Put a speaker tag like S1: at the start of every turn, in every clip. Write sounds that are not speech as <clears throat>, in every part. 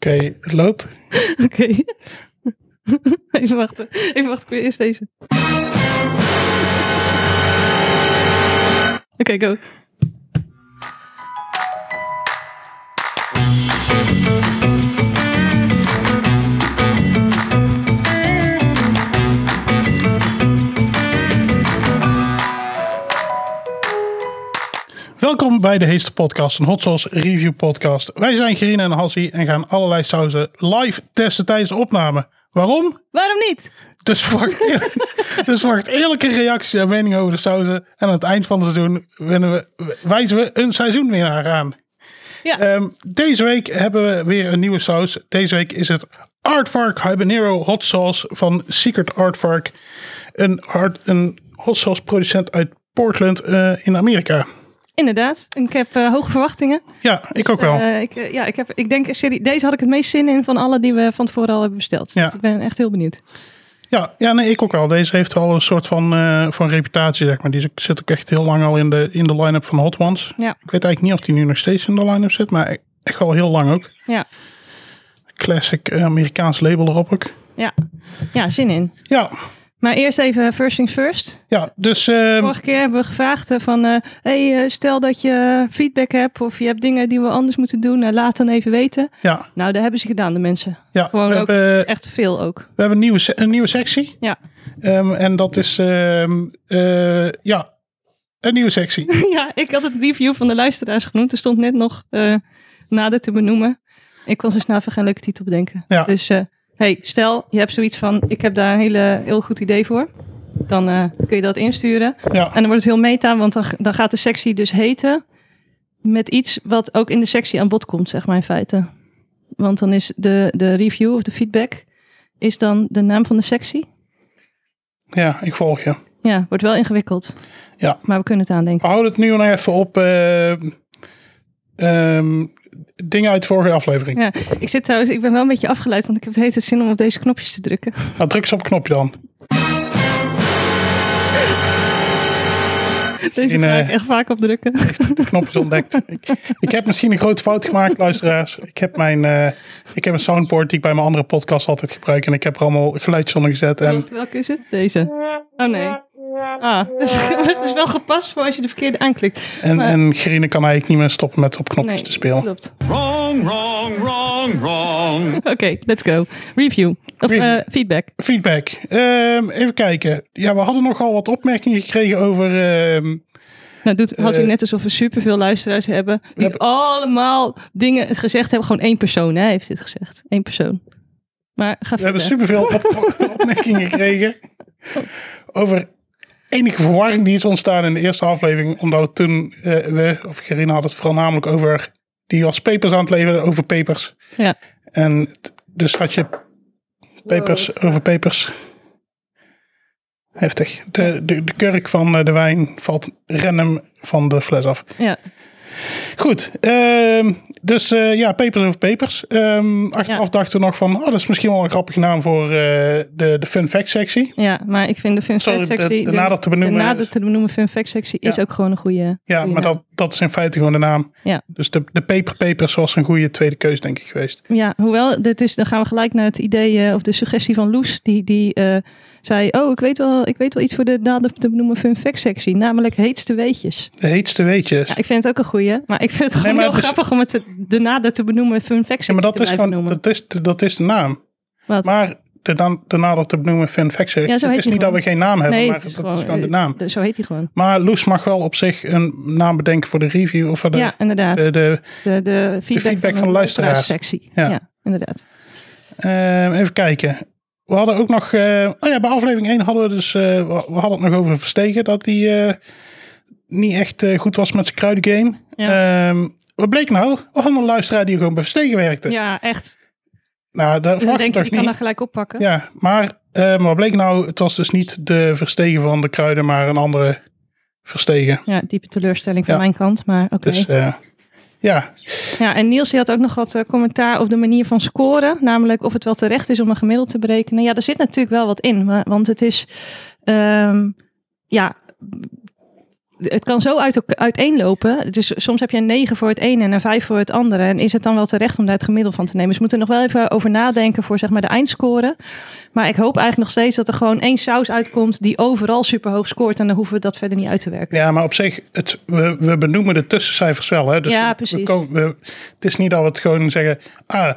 S1: het loopt.
S2: Oké. <laughs> Even wachten. Even wachten. Ik wil eerst deze. Oké, go.
S1: Welkom bij de heetste podcast, een Hot Sauce Review Podcast. Wij zijn Gerine en Hassie en gaan allerlei sauzen live testen tijdens de opname. Waarom?
S2: Waarom niet?
S1: Dus verwacht, eer- <laughs> dus verwacht eerlijke reacties en meningen over de sauzen. En aan het eind van het seizoen winnen we, wijzen we een seizoenwinnaar aan.
S2: Ja.
S1: Ehm, deze week hebben we weer een nieuwe saus. Deze week is het Aardvark Habanero Hot Sauce van Secret Aardvark. Een, hard, een hot sauce producent uit Portland eh, in Amerika.
S2: Inderdaad. En Ik heb eh, hoge verwachtingen.
S1: Ja, ik ook wel.
S2: Eh, ik, eh, ja, ik, heb, ik denk, serie, deze had ik het meest zin in van alle die we van tevoren al hebben besteld.
S1: Ja.
S2: Dus ik ben echt heel benieuwd.
S1: Ja, ja, nee, ik ook wel. Deze heeft al een soort van, eh, van reputatie, zeg maar. Die zit ook echt heel lang al in de, in de line-up van Hot Ones.
S2: Ja.
S1: Ik weet eigenlijk niet of die nu nog steeds in de line-up zit, maar e- echt al heel lang ook.
S2: Ja.
S1: Classic eh, Amerikaans label erop ook.
S2: Ja. Ja, zin in.
S1: Ja,
S2: Maar eerst even eh, first things first.
S1: ja dus ehm,
S2: Vorige keer hebben we gevraagd eh, van, eh, hey, eh, stel dat je feedback hebt of je hebt dingen die we anders moeten doen, eh, laat dan even weten.
S1: ja,
S2: Nou, daar hebben ze gedaan, de mensen.
S1: ja.
S2: Gewoon
S1: we,
S2: ook-
S1: hebben,
S2: Echt veel ook.
S1: we hebben een nieuwe, se- een nieuwe sectie.
S2: Ja. <laughs>
S1: Ehm, en dat is, ehm, eh, ja, een nieuwe sectie.
S2: ja, ik had het review van de luisteraars genoemd. Er stond net nog eh, nader te benoemen. Ik kon zo snel even geen leuke titel bedenken.
S1: Ja.
S2: Dus, eh, hey, stel je hebt zoiets van, ik heb daar een hele, heel goed idee voor. Dan eh, kun je dat insturen.
S1: Ja,
S2: <laughs> En dan wordt het heel meta, want dan, dan gaat de sectie dus heten met iets wat ook in de sectie aan bod komt, zeg maar in feite. Want dan is de, de review of de feedback is dan de naam van de sectie.
S1: ja, ik volg je.
S2: Ja, wordt wel ingewikkeld.
S1: Ja.
S2: Maar we kunnen het aandenken.
S1: We houden het nu nog even op eh, ehm, dingen uit de vorige aflevering.
S2: Ja, ik zit trouwens, ik ben wel een beetje afgeleid, want ik heb het hele tijd zin om op deze knopjes te
S1: <laughs>
S2: drukken.
S1: Nou, druk eens op het knopje dan.
S2: Deze
S1: eh,
S2: ga ik echt vaak
S1: <laughs>
S2: op drukken.
S1: De knop is ontdekt.
S2: <laughs>
S1: ik, ik heb misschien een grote fout gemaakt, luisteraars. Ik heb mijn eh, ik heb een soundboard die ik bij mijn andere podcast altijd gebruik. En ik heb er allemaal geluidjes onder gezet. En
S2: Wacht, Welke is het? Deze. Oh nee. Ah, <laughs> het is, het is wel gepast voor als je de verkeerde aanklikt.
S1: En, en Gerine kan eigenlijk niet meer stoppen met op knopjes
S2: Nee,
S1: te spelen.
S2: klopt. <laughs>
S3: Wrong, wrong, wrong, wrong.
S2: Oké, let's go. Review. Of
S1: Review.
S2: eh, feedback.
S1: Feedback. Ehm, even kijken. Ja, we hadden nogal wat opmerkingen gekregen over... ehm,
S2: Nou, doet had ik
S1: Eh,
S2: net alsof we superveel luisteraars hebben. Die
S1: hebben-
S2: allemaal dingen gezegd hebben. Gewoon één persoon hè, heeft dit gezegd. Eén persoon. Maar ga
S1: we hebben
S2: verder.
S1: superveel op, opmerkingen gekregen over enige verwarring die is ontstaan in de eerste aflevering. Omdat we toen eh, we, of Gerine had het voornamelijk over... Die was papers aan het leveren over papers.
S2: Ja.
S1: En t- dus had je papers over papers. Heftig. De, de, de kurk van eh, de wijn valt random van de fles af.
S2: Ja.
S1: Goed, ehm, dus eh, ja, papers over papers. Ehm, achteraf dachten we nog van, oh, dat is misschien wel een grappige naam voor eh, de, de fun fact sectie.
S2: ja, maar ik vind de fun
S1: Sorry,
S2: fact
S1: de,
S2: sectie...
S1: de nader te benoemen.
S2: De nader te benoemen fun fact sectie is
S1: Ja.
S2: ook gewoon een goede...
S1: ja,
S2: goede
S1: maar
S2: naam.
S1: dat, dat is in feite gewoon de naam.
S2: Ja.
S1: Dus de, de paper papers was een goede tweede keus, denk ik, geweest.
S2: Ja, hoewel, dit is, dan gaan we gelijk naar het idee eh, of de suggestie van Loes. Die, die eh, zei, oh, ik weet, wel, ik weet wel iets voor de nader te benoemen fun fact sectie. Namelijk heetste weetjes.
S1: De heetste weetjes.
S2: Ja, ik vind het ook een goeie. Maar ik vind het gewoon
S1: maar
S2: heel
S1: het is-
S2: grappig om het te- de nader te benoemen. Fun fact
S1: Ja, maar dat
S2: te
S1: is
S2: blijven
S1: gewoon,
S2: noemen.
S1: dat is, de- dat is de naam.
S2: Wat?
S1: Maar de, dan, de nader te benoemen fun fact
S2: Ja, zo
S1: het
S2: heet
S1: is
S2: die
S1: niet dat
S2: gewoon.
S1: we geen naam hebben,
S2: nee,
S1: maar
S2: het is
S1: dat
S2: gewoon,
S1: is gewoon de naam.
S2: eh, Zo heet hij gewoon.
S1: Maar Loes mag wel op zich een naam bedenken voor de review of voor de,
S2: ja, inderdaad.
S1: de, de
S2: De, de, feedback
S1: feedback van de luisteraars.
S2: sectie. Ja.
S1: Ja.
S2: inderdaad.
S1: Ehm, even kijken. We hadden ook nog. eh, oh ja, bij aflevering 1 hadden we dus. eh, we we hadden het nog over Verstegen. Dat hij eh, niet echt eh, goed was met zijn kruidengame. Ehm, wat bleek nou? We hadden een luisteraar die gewoon bij Verstegen werkte.
S2: Ja, echt.
S1: Nou, daar
S2: Dan
S1: verwacht je
S2: denk ik,
S1: toch
S2: ik kan
S1: niet.
S2: dat gelijk oppakken.
S1: Ja, maar eh, wat bleek nou? Het was dus niet de Verstegen van de kruiden, maar een andere Verstegen.
S2: Ja, diepe teleurstelling van
S1: Ja.
S2: mijn kant, maar oké.
S1: Dus eh, ja,
S2: Ja, en Niels die had ook nog wat eh, commentaar op de manier van scoren. Namelijk of het wel terecht is om een gemiddelde te berekenen. Ja, daar zit natuurlijk wel wat in. wa- Want het is, ehm, ja, het kan zo uit, elk- uiteenlopen. Dus soms heb je een 9 voor het ene en een 5 voor het andere. En is het dan wel terecht om daar het gemiddelde van te nemen? Dus we moeten er nog wel even over nadenken voor zeg maar, de eindscore. Maar ik hoop eigenlijk nog steeds dat er gewoon één saus uitkomt die overal superhoog scoort. En dan hoeven we dat verder niet uit te werken.
S1: Ja, maar op zich, het, we, we benoemen de tussencijfers wel. Hè? Dus
S2: Ja,
S1: we- We
S2: precies.
S1: komen, we, het is niet dat we het gewoon zeggen, ah,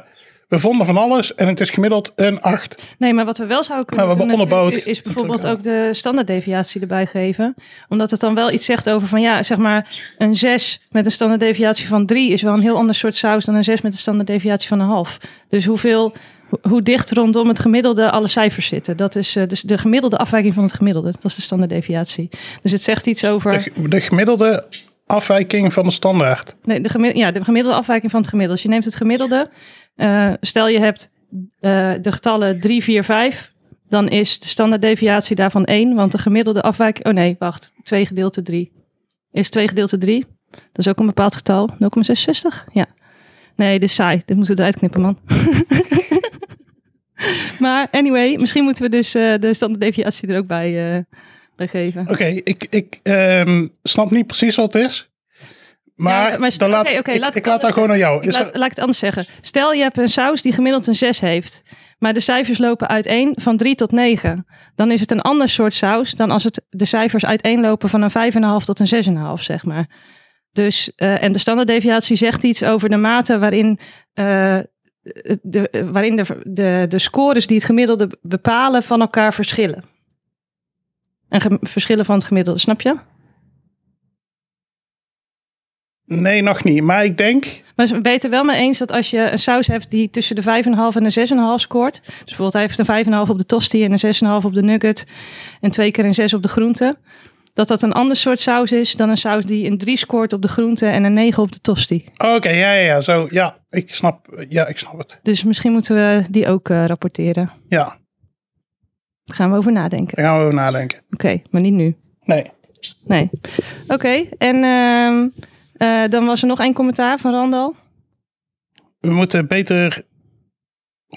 S1: we vonden van alles en het is gemiddeld een 8.
S2: Nee, maar wat we wel zouden kunnen
S1: Ja, we
S2: doen
S1: hebben
S2: natuurlijk
S1: onderbouwd.
S2: is bijvoorbeeld
S1: Natuurlijk,
S2: ook de standaarddeviatie erbij geven. Omdat het dan wel iets zegt over van ja, zeg maar een 6 met een standaarddeviatie van 3 is wel een heel ander soort saus dan een 6 met een standaarddeviatie van een half. Dus hoeveel, ho- hoe dicht rondom het gemiddelde alle cijfers zitten. Dat is eh, dus de gemiddelde afwijking van het gemiddelde. Dat is de standaarddeviatie. Dus het zegt iets over...
S1: De, de gemiddelde afwijking van de standaard.
S2: Nee, de, gemi- ja, de gemiddelde afwijking van het gemiddelde. Dus je neemt het gemiddelde. eh, stel je hebt eh, de getallen 3, 4, 5. Dan is de standaarddeviatie daarvan 1. Want de gemiddelde afwijking... Oh nee, wacht. 2 gedeeld door 3. Is 2 gedeeld door 3. Dat is ook een bepaald getal. 0,66? Ja. Nee, dit is saai. Dit moeten we eruit knippen, man. <laughs> maar anyway, misschien moeten we dus eh, de standaarddeviatie er ook bij, eh, bij geven.
S1: Oké, ik, ik ehm, snap niet precies wat het is. Maar,
S2: Ja, maar st-
S1: dan laat,
S2: oké, oké,
S1: ik,
S2: laat ik
S1: ik laat dat
S2: anders
S1: gewoon aan jou.
S2: Ik
S1: Is
S2: laat,
S1: dat-
S2: laat ik het anders zeggen. Stel je hebt een saus die gemiddeld een 6 heeft. Maar de cijfers lopen uiteen van 3 tot 9. Dan is het een ander soort saus dan als het de cijfers uiteenlopen van een 5,5 tot een 6,5, zeg maar. Dus, eh, en de standaarddeviatie zegt iets over de mate waarin, eh, de, eh, waarin de, de, de scores die het gemiddelde bepalen van elkaar verschillen. En gem- verschillen van het gemiddelde, snap je?
S1: Nee, nog niet. Maar ik denk,
S2: Maar ze weten wel mee eens dat als je een saus hebt die tussen de 5,5 en de 6,5 scoort. Dus bijvoorbeeld hij heeft een 5,5 op de tosti en een 6,5 op de nugget. En twee keer een 6 op de groente. Dat dat een ander soort saus is dan een saus die een 3 scoort op de groente en een 9 op de tosti.
S1: oké, ja, ja, ja, zo, ja, ik snap, ja, ik snap het.
S2: Dus misschien moeten we die ook eh, rapporteren.
S1: Ja,
S2: Daar gaan we over nadenken.
S1: daar gaan we over nadenken.
S2: Oké, maar niet nu.
S1: Nee.
S2: Nee. Oké, en ehm, eh, dan was er nog één commentaar van Randal.
S1: We moeten beter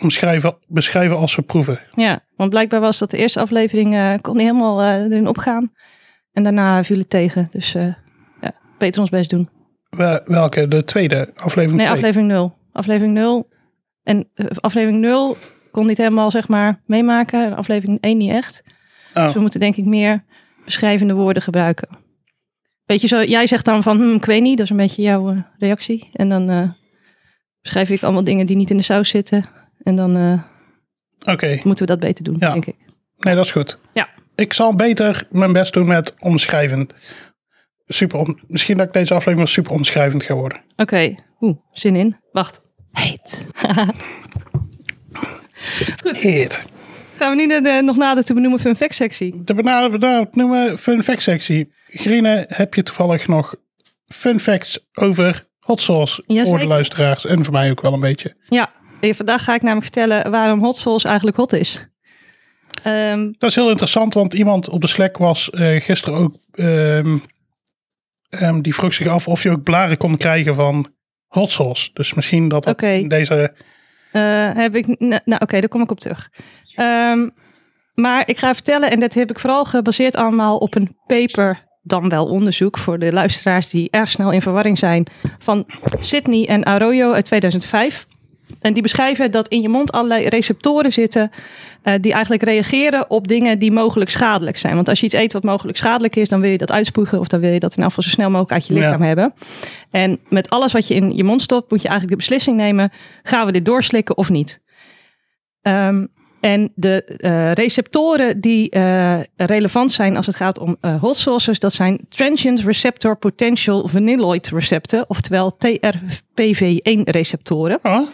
S1: omschrijven, beschrijven als we proeven.
S2: Ja, want blijkbaar was dat de eerste aflevering, eh, kon niet helemaal eh, erin opgaan. En daarna viel het tegen. Dus eh, ja, beter ons best doen.
S1: Wel- Welke? De tweede aflevering?
S2: Nee,
S1: twee?
S2: aflevering 0. Aflevering 0. En eh, aflevering 0 kon niet helemaal, zeg maar, meemaken. En aflevering 1 niet echt. Dus
S1: Oh,
S2: we moeten denk ik meer beschrijvende woorden gebruiken. Weet je, zo, jij zegt dan van, hm, ik weet niet. Dat is een beetje jouw eh, reactie. En dan eh, beschrijf ik allemaal dingen die niet in de saus zitten. En dan eh,
S1: Oké,
S2: moeten we dat beter doen,
S1: Ja.
S2: denk ik.
S1: nee, dat is goed.
S2: Ja.
S1: Ik zal beter mijn best doen met omschrijvend. Super om, misschien dat ik deze aflevering wel super omschrijvend ga worden.
S2: Oké, oeh, zin in. Wacht. Heet.
S1: Heet.
S2: Gaan we nu naar de nog nader te benoemen fun fact sectie.
S1: De benaderde benaderd noemen fun fact sectie. Grine, heb je toevallig nog fun facts over hot sauce voor
S2: Jazeker.
S1: de luisteraars en voor mij ook wel een beetje?
S2: Ja, eh, vandaag ga ik namelijk vertellen waarom hot sauce eigenlijk hot is. Ehm,
S1: Dat is heel interessant, want iemand op de Slack was eh, gisteren ook. ehm, ehm, die vroeg zich af of je ook blaren kon krijgen van hot sauce. Dus misschien dat dat
S2: Oké.
S1: in deze.
S2: eh, heb ik... n- Nou, oké, daar kom ik op terug. Ehm, maar ik ga vertellen, en dat heb ik vooral gebaseerd allemaal op een paper, dan wel onderzoek voor de luisteraars die erg snel in verwarring zijn, van Sydney en Arroyo uit 2005. En die beschrijven dat in je mond allerlei receptoren zitten eh, die eigenlijk reageren op dingen die mogelijk schadelijk zijn. Want als je iets eet wat mogelijk schadelijk is, dan wil je dat uitspoegen of dan wil je dat in afval zo snel mogelijk uit je lichaam
S1: Ja.
S2: hebben. En met alles wat je in je mond stopt, moet je eigenlijk de beslissing nemen: gaan we dit doorslikken of niet? Ehm, en de eh, receptoren die eh, relevant zijn als het gaat om eh, hot sauces, dat zijn transient receptor potential vanilloid recepten, oftewel TRPV1 receptoren.
S1: Ah,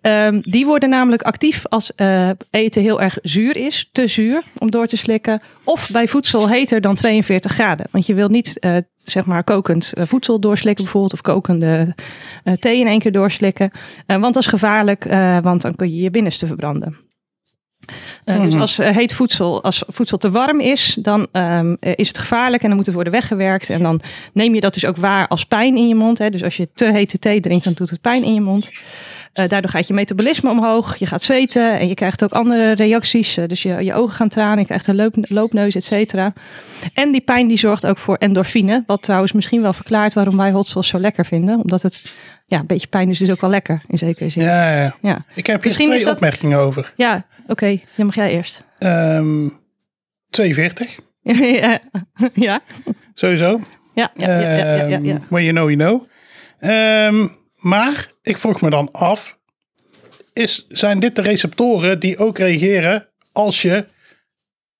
S2: Ehm, die worden namelijk actief als eh, eten heel erg zuur is, te zuur om door te slikken. Of bij voedsel heter dan 42 graden. Want je wilt niet eh, zeg maar kokend eh, voedsel doorslikken bijvoorbeeld. Of kokende eh, thee in één keer doorslikken. Eh, want dat is gevaarlijk, eh, want dan kun je je binnenste verbranden. Eh, Dus als eh, heet voedsel, als voedsel te warm is, dan ehm, eh, is het gevaarlijk en dan moet het worden weggewerkt. En dan neem je dat dus ook waar als pijn in je mond. Hè. Dus als je te hete thee drinkt, dan doet het pijn in je mond. Eh, daardoor gaat je metabolisme omhoog, je gaat zweten en je krijgt ook andere reacties. Eh, dus je, je ogen gaan tranen, je krijgt een loop- loopneus, et cetera. En die pijn die zorgt ook voor endorfine. Wat trouwens misschien wel verklaart waarom wij hot sauce zo lekker vinden. Omdat het, ja, een beetje pijn is dus ook wel lekker in zekere zin. Ja,
S1: Ja, ja.
S2: ja.
S1: Ik heb hier
S2: Misschien
S1: twee
S2: is dat-
S1: opmerkingen over.
S2: oké, dan mag jij eerst.
S1: Ehm 42,
S2: <laughs> ja, ja,
S1: sowieso.
S2: ja, ja, ja, ja, ja, ja.
S1: Ehm, when you know, you know. Ehm, maar ik vroeg me dan af, is, zijn dit de receptoren die ook reageren als je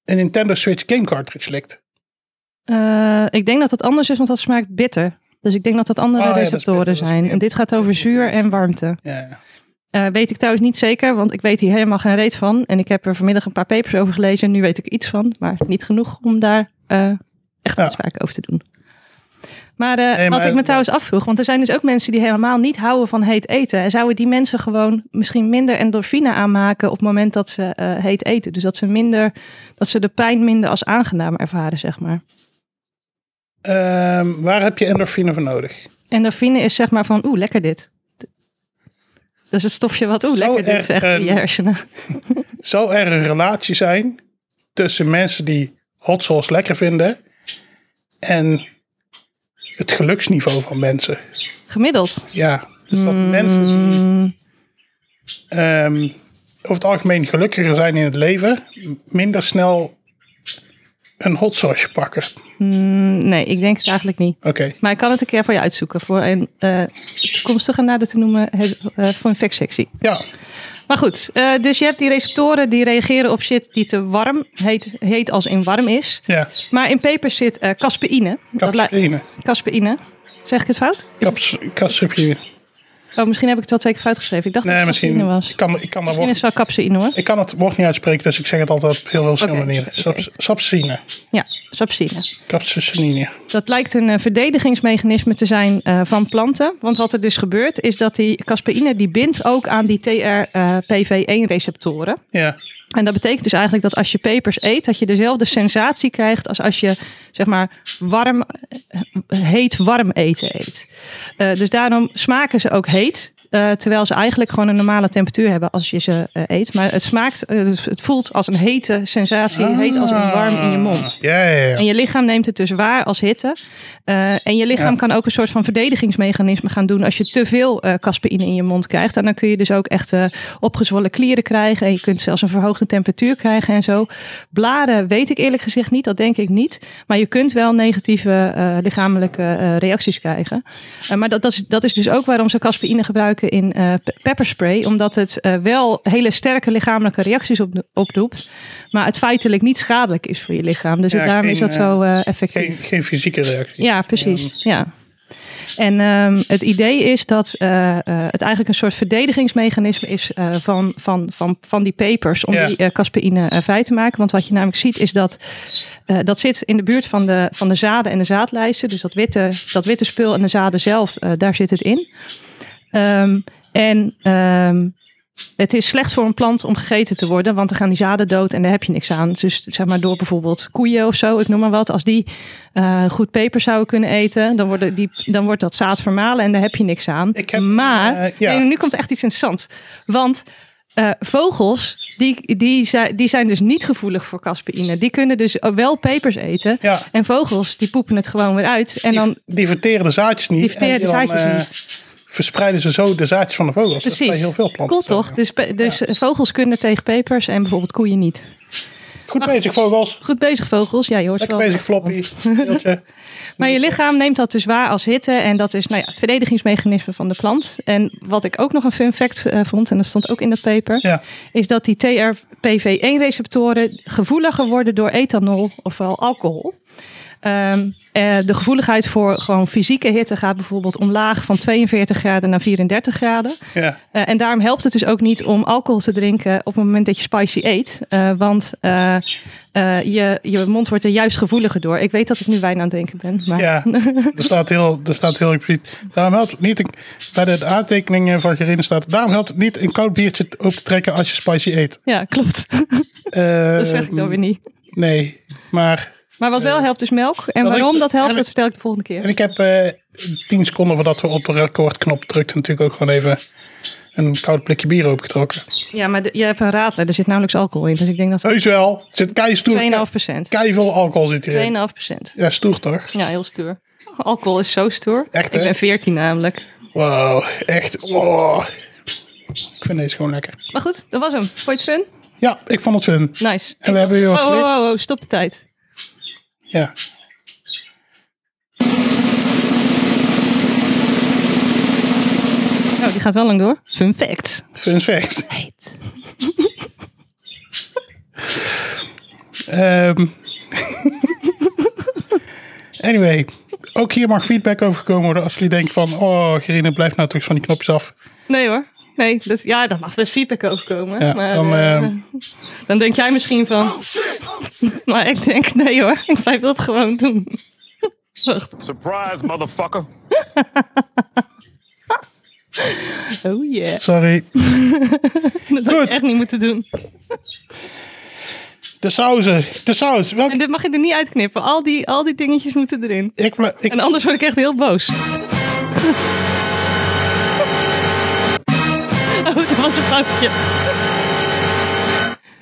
S1: een Nintendo Switch game cartridge likt?
S2: Eh, ik denk dat dat anders is, want dat smaakt bitter. Dus ik denk dat dat andere
S1: Oh ja, dat is
S2: receptoren
S1: bitter, dat is
S2: zijn.
S1: meer-
S2: En dit gaat over zuur en warmte.
S1: Ja.
S2: Eh, weet ik trouwens niet zeker, want ik weet hier helemaal geen reet van. En ik heb er vanmiddag een paar papers over gelezen. Nu weet ik iets van, maar niet genoeg om daar eh, echt
S1: Ja.
S2: uitspraken over te doen. Maar, eh,
S1: Nee,
S2: wat
S1: maar-
S2: ik me trouwens afvroeg, want er zijn dus ook mensen die helemaal niet houden van heet eten. En zouden die mensen gewoon misschien minder endorfine aanmaken op het moment dat ze eh, heet eten? Dus dat ze, minder, dat ze de pijn minder als aangenaam ervaren, zeg maar.
S1: Ehm, waar heb je endorfine voor nodig?
S2: Endorfine is zeg maar van, oeh, lekker dit. Dat is het stofje wat, oeh,
S1: Zou
S2: lekker
S1: er
S2: dit, zegt in je
S1: een-
S2: hersenen.
S1: Zou er een relatie zijn tussen mensen die hot sauce lekker vinden en het geluksniveau van mensen?
S2: Gemiddeld.
S1: Ja, dus dat
S2: Hmm.
S1: mensen die ehm, over het algemeen gelukkiger zijn in het leven, m- minder snel een hot sauce pakken.
S2: Nee, ik denk het eigenlijk niet.
S1: Oké,
S2: Maar ik kan het een keer voor je uitzoeken. Voor een eh toekomstige nader te noemen he- eh, voor een factsectie.
S1: ja.
S2: Maar goed, eh, dus je hebt die receptoren die reageren op shit die te warm, heet, heet als in warm is.
S1: ja.
S2: Maar in pepers zit eh caspeïne. Dat li-
S1: Capsaïne.
S2: Caspeïne. Zeg ik het fout?
S1: Caps, capsaïne.
S2: Oh, misschien heb ik het wel twee keer fout geschreven. Ik dacht
S1: Nee,
S2: dat het
S1: misschien.
S2: caspeïne was.
S1: Ik kan, ik, kan dat
S2: Misschien is
S1: woord,
S2: het wel capsaïne hoor.
S1: ik kan het woord niet uitspreken, dus ik zeg het altijd op heel verschillende
S2: Oké, dus-
S1: manieren.
S2: oké.
S1: Saps- Sapsine.
S2: Ja, sapsine.
S1: Capsaicine.
S2: Dat lijkt een eh, verdedigingsmechanisme te zijn eh, van planten. Want wat er dus gebeurt, is dat die caspeïne die bindt ook aan die eh, TRPV1-receptoren.
S1: Ja.
S2: en dat betekent dus eigenlijk dat als je pepers eet, dat je dezelfde sensatie krijgt als als je zeg maar warm, eh, heet warm eten eet. Eh, dus daarom smaken ze ook heet. eh, terwijl ze eigenlijk gewoon een normale temperatuur hebben als je ze eh, eet. Maar het smaakt, eh, dus het voelt als een hete sensatie, heet als een warm in je mond.
S1: Ah. Ja, ja, ja.
S2: En je lichaam neemt het dus waar als hitte. Eh, en je lichaam
S1: Ja.
S2: kan ook een soort van verdedigingsmechanisme gaan doen als je te veel eh caspeïne in je mond krijgt. En dan kun je dus ook echt eh, opgezwollen klieren krijgen. En je kunt zelfs een verhoogde temperatuur krijgen en zo. Blaren weet ik eerlijk gezegd niet, dat denk ik niet. Maar je kunt wel negatieve eh, lichamelijke eh, reacties krijgen. Eh, maar dat, dat, is, dat is dus ook waarom ze caspeïne gebruiken in eh, pe- pepperspray. Omdat het eh, wel hele sterke lichamelijke reacties op, opdoet. Maar het feitelijk niet schadelijk is voor je lichaam. Dus
S1: Ja,
S2: het- daarom is
S1: geen,
S2: dat zo eh, effectief.
S1: Geen, geen fysieke reactie.
S2: Ja, precies. Ja. En ehm, het idee is dat eh, eh, het eigenlijk een soort verdedigingsmechanisme is eh, van, van, van, van die papers om
S1: Ja.
S2: die eh, caspeïne eh, vrij te maken. Want wat je namelijk ziet is dat eh, dat zit in de buurt van de, van de zaden en de zaadlijsten. Dus dat witte, dat witte spul en de zaden zelf, eh, daar zit het in. Ehm, en ehm, het is slecht voor een plant om gegeten te worden, want dan gaan die zaden dood en daar heb je niks aan. Dus zeg maar door bijvoorbeeld koeien of zo, ik noem maar wat, als die eh, goed peper zouden kunnen eten, dan, worden die, dan wordt dat zaad vermalen en daar heb je niks aan.
S1: Ik heb,
S2: maar
S1: eh, ja.
S2: nee, nu komt echt iets interessants. Want eh, vogels, die, die, zijn- die zijn dus niet gevoelig voor caspeïne. Die kunnen dus wel pepers eten.
S1: Ja.
S2: En vogels, die poepen het gewoon weer uit. En
S1: Die,
S2: dan,
S1: die verteren de zaadjes niet.
S2: Die verteren
S1: en
S2: de zaadjes
S1: eh, Verspreiden ze zo de zaadjes van de vogels. Dat is bij
S2: precies.
S1: heel veel planten.
S2: Cool toch?
S1: zo.
S2: Dus, pe- dus vogels kunnen tegen pepers en bijvoorbeeld koeien niet.
S1: Goed bezig, vogels.
S2: Goed bezig, vogels. Ja, je hoort
S1: Lekker
S2: wel.
S1: bezig, Floppy. Deeltje.
S2: Maar je lichaam neemt dat dus waar als hitte. En dat is nou ja, het verdedigingsmechanisme van de plant. En wat ik ook nog een fun fact eh, vond, en dat stond ook in dat paper,
S1: Ja.
S2: is dat die TRPV1-receptoren gevoeliger worden door ethanol, ofwel alcohol. Ehm, eh, de gevoeligheid voor gewoon fysieke hitte gaat bijvoorbeeld omlaag van 42 graden naar 34 graden.
S1: Ja.
S2: Eh, en daarom helpt het dus ook niet om alcohol te drinken op het moment dat je spicy eet. Eh, want eh, eh, je, je mond wordt er juist gevoeliger door. Ik weet dat ik nu wijn aan het drinken ben. Maar
S1: Ja, er staat heel, er staat heel expliciet. Daarom helpt het niet, een- bij de aantekeningen van Gerine staat, daarom helpt het niet een koud biertje t- op te trekken als je spicy eet.
S2: Ja, klopt. <laughs>
S1: Eh,
S2: dat zeg ik dan weer niet.
S1: Nee, maar,
S2: Maar wat wel helpt is melk. En
S1: dat
S2: waarom
S1: Eh, ik-
S2: dat helpt,
S1: en-
S2: dat vertel ik de volgende keer.
S1: en ik heb eh tien seconden voordat we op de recordknop drukten natuurlijk ook gewoon even en een koud plekje bier opengetrokken.
S2: Ja, maar de- je hebt een raadler, er zit nauwelijks alcohol in. Dus ik denk dat
S1: Heus wel. Er zit kei stoer.
S2: 2,5 procent.
S1: Kei veel alcohol zit hierin.
S2: 2,5 procent.
S1: Ja, stoer toch?
S2: Ja, heel stoer. Alcohol is zo stoer.
S1: Echt,
S2: Ik
S1: hè?
S2: ben 14 namelijk.
S1: Wauw, echt. Oh. Ik vind deze gewoon lekker.
S2: Maar goed, dat was hem. Vond je het fun?
S1: Ja, ik vond het fun.
S2: Nice.
S1: En we hebben hier
S2: oh,
S1: wat
S2: oh,
S1: geleerd.
S2: oh, oh, stop de tijd.
S1: Ja.
S2: Nou, die gaat wel lang door. Fun fact.
S1: Fun fact.
S2: Heet.
S1: Ehm. <laughs> anyway, ook hier mag feedback over gekomen worden als jullie denken van, oh Gerine, blijf nou toch eens van die knopjes af.
S2: Nee hoor. Nee, dat, ja, dat mag best feedback overkomen.
S1: Ja,
S2: maar,
S1: dan,
S2: eh,
S1: ehm,
S2: dan denk jij misschien van... maar ik denk, nee hoor, ik blijf dat gewoon doen. Wacht.
S3: Surprise, motherfucker.
S2: Oh yeah.
S1: Sorry.
S2: Dat had je
S1: Goed.
S2: echt niet moeten doen.
S1: De sauzen. De saus.
S2: En
S1: Welke?
S2: dit mag je er niet uitknippen. Al die, al die dingetjes moeten erin.
S1: Ik, bla- ik,
S2: En anders word ik echt heel boos. <laughs> Oh, Oh, dat was een foutje.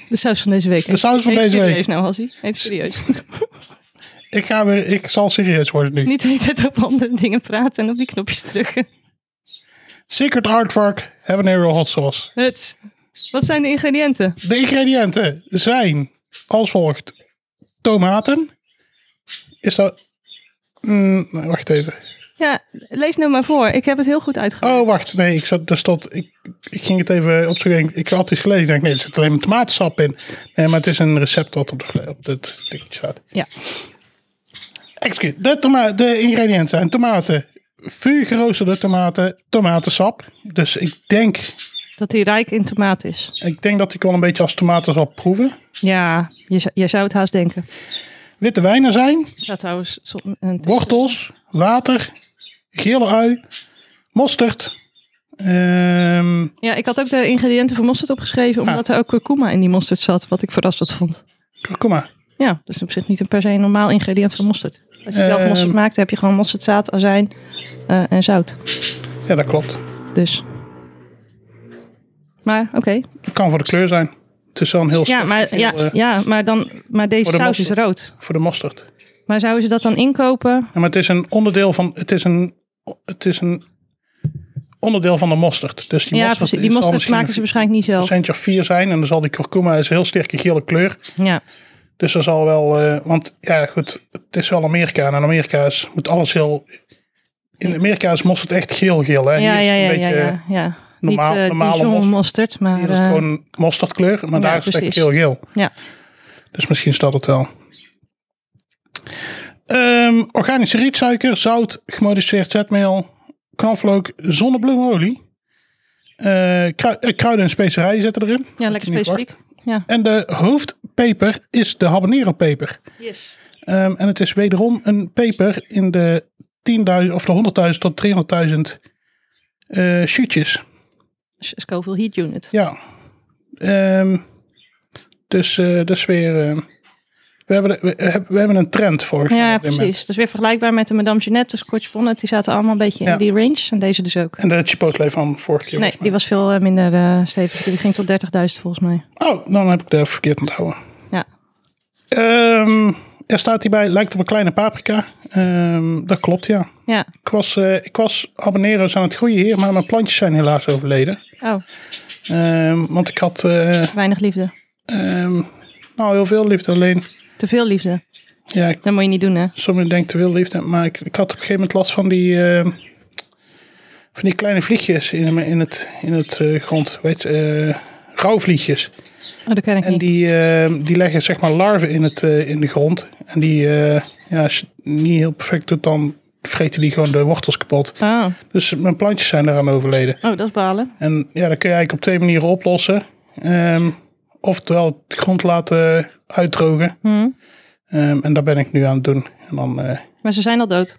S2: De saus van deze week.
S1: De saus van
S2: Even
S1: deze
S2: serieus
S1: week.
S2: nou, Hassie. Even serieus.
S1: ik, ga weer, ik zal serieus worden nu.
S2: Niet de hele tijd op andere dingen praten en op die knopjes drukken.
S1: Secret Artwork Habanero Hot Sauce.
S2: Huts. Wat zijn de ingrediënten?
S1: De ingrediënten zijn als volgt. Tomaten. Is dat... Mm, wacht even.
S2: Ja, lees nou maar voor. Ik heb het heel goed uitgehaald.
S1: Oh, wacht. Nee, ik zat, daar stond, ik, ik ging het even opzoeken. Ik had iets gelezen. Ik denk, nee, er zit alleen maar tomatensap in. Nee, maar het is een recept wat op, de, fle- op het dingetje staat.
S2: Ja.
S1: Excuus. De, toma- de ingrediënten zijn tomaten. Vuur geroosterde tomaten, tomatensap. Dus ik denk,
S2: Dat hij rijk in tomaat is.
S1: ik denk dat ik wel een beetje als tomatensap proeven.
S2: Ja, je, zou- je zou het haast denken.
S1: Witte wijnen zijn,
S2: Er staat trouwens zo- een
S1: wortels, water, gele ui, mosterd. Ehm,
S2: Ja, ik had ook de ingrediënten voor mosterd opgeschreven, omdat er ook curcuma in die mosterd zat, wat ik verrassend vond.
S1: kurkuma.
S2: Ja, dus op zich niet een per se een normaal ingrediënt van mosterd. Als je zelf
S1: Ehm.
S2: mosterd maakt, heb je gewoon mosterdzaad, azijn eh, en zout.
S1: Ja, dat klopt.
S2: Dus. Maar oké.
S1: Het kan voor de kleur zijn. Het is wel een heel
S2: Ja,
S1: sterk
S2: maar,
S1: geel,
S2: ja,
S1: eh,
S2: ja, maar, dan, maar deze
S1: Voor de
S2: saus is rood.
S1: voor de mosterd.
S2: Maar zouden ze dat dan inkopen?
S1: Ja, maar het is een onderdeel van. Het is een, het is een onderdeel van de mosterd. Dus die
S2: ja,
S1: mosterd,
S2: precies. Die
S1: is- zal
S2: mosterd
S1: misschien
S2: maken ze
S1: een
S2: waarschijnlijk niet zelf.
S1: procentje of vier zijn. En dan zal die kurkuma is een heel sterke gele kleur.
S2: Ja.
S1: Dus dat zal wel. eh, want ja, goed. Het is wel Amerika. En in Amerika is, moet alles heel. In Amerika is mosterd echt geel-geel. Hè?
S2: Ja,
S1: Hier is
S2: ja,
S1: het
S2: ja,
S1: een
S2: ja,
S1: beetje.
S2: ja, ja.
S1: normaal-
S2: niet eh,
S1: normale
S2: Dijon
S1: mosterd.
S2: mosterd, maar...
S1: Hier is het
S2: eh,
S1: gewoon mosterdkleur. Maar
S2: ja,
S1: daar is het echt
S2: precies.
S1: geel-geel.
S2: ja.
S1: Dus misschien staat het wel. Ehm, organische rietsuiker, zout, gemodificeerd zetmeel, knoflook, zonnebloemolie. Eh, krui- eh, kruiden en specerijen zitten erin.
S2: ja,
S1: Had je
S2: lekker
S1: niet
S2: specifiek. Ja.
S1: En de hoofdpeper is de habanero peper.
S2: Yes.
S1: Ehm, en het is wederom een peper in de 10.000 of de 100.000 tot 300.000 eh shootjes.
S2: Scoville Heat Unit.
S1: Ja. Ehm, dus eh, dat is weer... eh, we, hebben, de- we, hebben- we hebben een trend volgens mij.
S2: Ja,
S1: op dit moment.
S2: precies. Dat is weer vergelijkbaar met de Madame Jeannette, de Scotch Bonnet. Die zaten allemaal een beetje
S1: Ja.
S2: in die range. En deze dus ook.
S1: En de Chipotle van vorige keer.
S2: Nee, die
S1: volgens
S2: was veel eh, minder eh, stevig. Die ging tot 30.000 volgens mij.
S1: mij. Oh, dan heb ik de verkeerd onthouden.
S2: Ja.
S1: Ehm, er staat hierbij, lijkt op een kleine paprika. Ehm, dat klopt, ja.
S2: Ja.
S1: Ik was, eh ik was habanero's aan het groeien hier, maar mijn plantjes zijn helaas overleden.
S2: Oh,
S1: Ehm, want ik had eh,
S2: weinig liefde.
S1: ehm, nou, heel veel liefde. Alleen,
S2: Te veel liefde.
S1: ja, ik-
S2: Dat moet je niet doen, hè?
S1: sommigen denken te veel liefde. Maar ik, ik had op een gegeven moment last van die, ehm, van die kleine vliegjes in, mijn- in het, in het eh, grond. Weet, eh rouwvliegjes.
S2: Oh, dat ken ik
S1: En
S2: niet.
S1: die, eh, die leggen zeg maar larven in, het, eh, in de grond. En die, eh, ja, als je het niet heel perfect doet, dan vreten die gewoon de wortels kapot.
S2: Oh.
S1: Dus mijn plantjes zijn daaraan overleden.
S2: oh, dat is balen.
S1: En ja, dat kun je eigenlijk op twee manieren oplossen. Ehm, oftewel de grond laten uitdrogen.
S2: Hm.
S1: Ehm, en daar ben ik nu aan het doen. En dan, eh,
S2: Maar ze zijn al dood.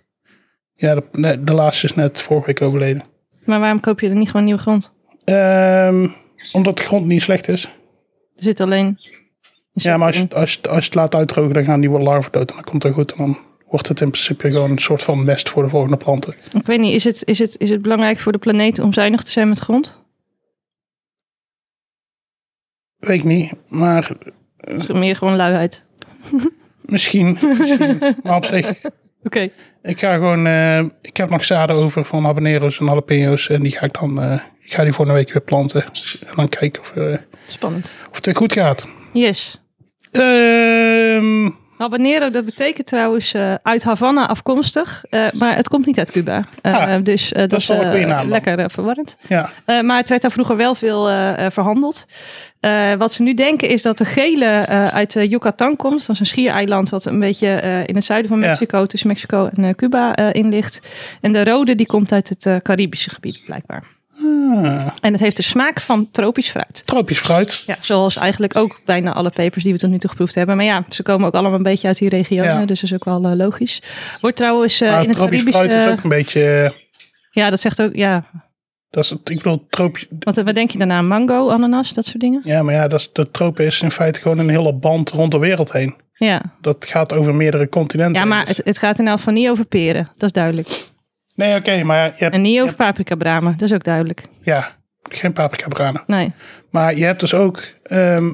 S1: ja, de, nee, de laatste is net vorige week overleden.
S2: Maar waarom koop je er niet gewoon nieuwe grond?
S1: Ehm, omdat de grond niet slecht is.
S2: Er zit alleen...
S1: Ja, maar als je, als, je, als je het laat uitdrogen, dan gaan die wel larven dood. En dan komt dat goed. En dan wordt het in principe gewoon een soort van mest voor de volgende planten.
S2: Ik weet niet, is het, is, het, is het belangrijk voor de planeet om zuinig te zijn met grond?
S1: Weet ik niet. Maar
S2: Het is meer gewoon luiheid.
S1: misschien. misschien. maar op zich.
S2: Oké.
S1: Ik ga gewoon. eh, ik heb nog zaden over van habaneros en jalapenos. En die ga ik dan. eh, ik ga die voor een week weer planten. En dan kijken of, eh,
S2: Spannend.
S1: of het weer goed gaat.
S2: Yes.
S1: Ehm,
S2: Habanero, dat betekent trouwens eh, uit Havana afkomstig. eh, maar het komt niet uit Cuba. Eh,
S1: Ah,
S2: dus eh, dat,
S1: is wel een
S2: eh,
S1: goede naam dan.
S2: lekker eh, verwarrend.
S1: ja.
S2: Eh, maar het werd daar vroeger wel veel eh, eh, verhandeld. Eh, wat ze nu denken is dat de gele eh, uit eh, Yucatan komt. Dat is een schiereiland wat een beetje eh, in het zuiden van
S1: Ja.
S2: Mexico, tussen Mexico en eh, Cuba eh, in ligt. En de rode die komt uit het eh, Caribische gebied blijkbaar.
S1: Ah,
S2: En het heeft de smaak van tropisch fruit.
S1: tropisch fruit.
S2: Ja, zoals eigenlijk ook bijna alle pepers die we tot nu toe geproefd hebben. Maar ja, ze komen ook allemaal een beetje uit die regionen,
S1: Ja.
S2: dus dat is ook wel eh, logisch. Wordt trouwens eh,
S1: Maar
S2: in het
S1: tropisch
S2: Caribische...
S1: fruit is ook een beetje. eh,
S2: Ja, dat zegt ook... Ja,
S1: dat is, het- ik bedoel, tropisch.
S2: want eh, wat denk je daarna? Mango, ananas, dat soort dingen?
S1: Ja, maar ja, dat is, de tropen is in feite gewoon een hele band rond de wereld heen.
S2: Ja,
S1: Dat gaat over meerdere continenten.
S2: ja maar
S1: heen, dus-
S2: het, het gaat in elk geval niet over peren, dat is duidelijk.
S1: Nee, oké, maar je hebt
S2: En niet over paprikabramen, dat is ook duidelijk.
S1: ja, geen paprika branen.
S2: Nee,
S1: Maar je hebt dus ook ehm,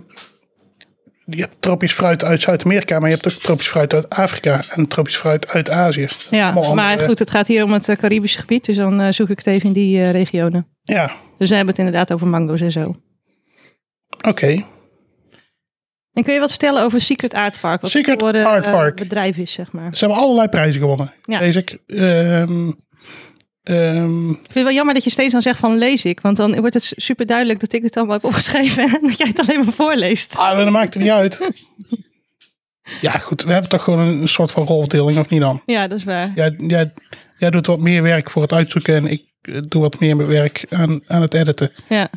S1: je hebt tropisch fruit uit Zuid-Amerika, maar je hebt ook tropisch fruit uit Afrika en tropisch fruit uit Azië.
S2: ja,
S1: Allemaal
S2: maar
S1: andere-
S2: goed, het gaat hier om het eh, Caribische gebied, dus dan eh, zoek ik het even in die eh, regionen.
S1: Ja,
S2: Dus ze hebben het inderdaad over mango's en zo.
S1: oké.
S2: En kun je wat vertellen over Secret Aardvark? Wat
S1: Secret
S2: voor, eh,
S1: Aardvark.
S2: bedrijf is, zeg maar.
S1: Ze hebben allerlei prijzen gewonnen.
S2: Ja.
S1: Lees ik. Ehm, ehm,
S2: Ik vind het wel jammer dat je steeds dan zegt van lees ik. Want dan wordt het super duidelijk dat ik dit allemaal heb opgeschreven. <laughs> En dat jij het alleen maar voorleest.
S1: ah, dat maakt het niet
S2: <laughs>
S1: uit. Ja, goed. We hebben toch gewoon een soort van rolverdeling, of niet dan?
S2: Ja, dat is waar.
S1: Jij, jij, jij doet wat meer werk voor het uitzoeken en ik eh, doe wat meer werk aan, aan het editen.
S2: Ja.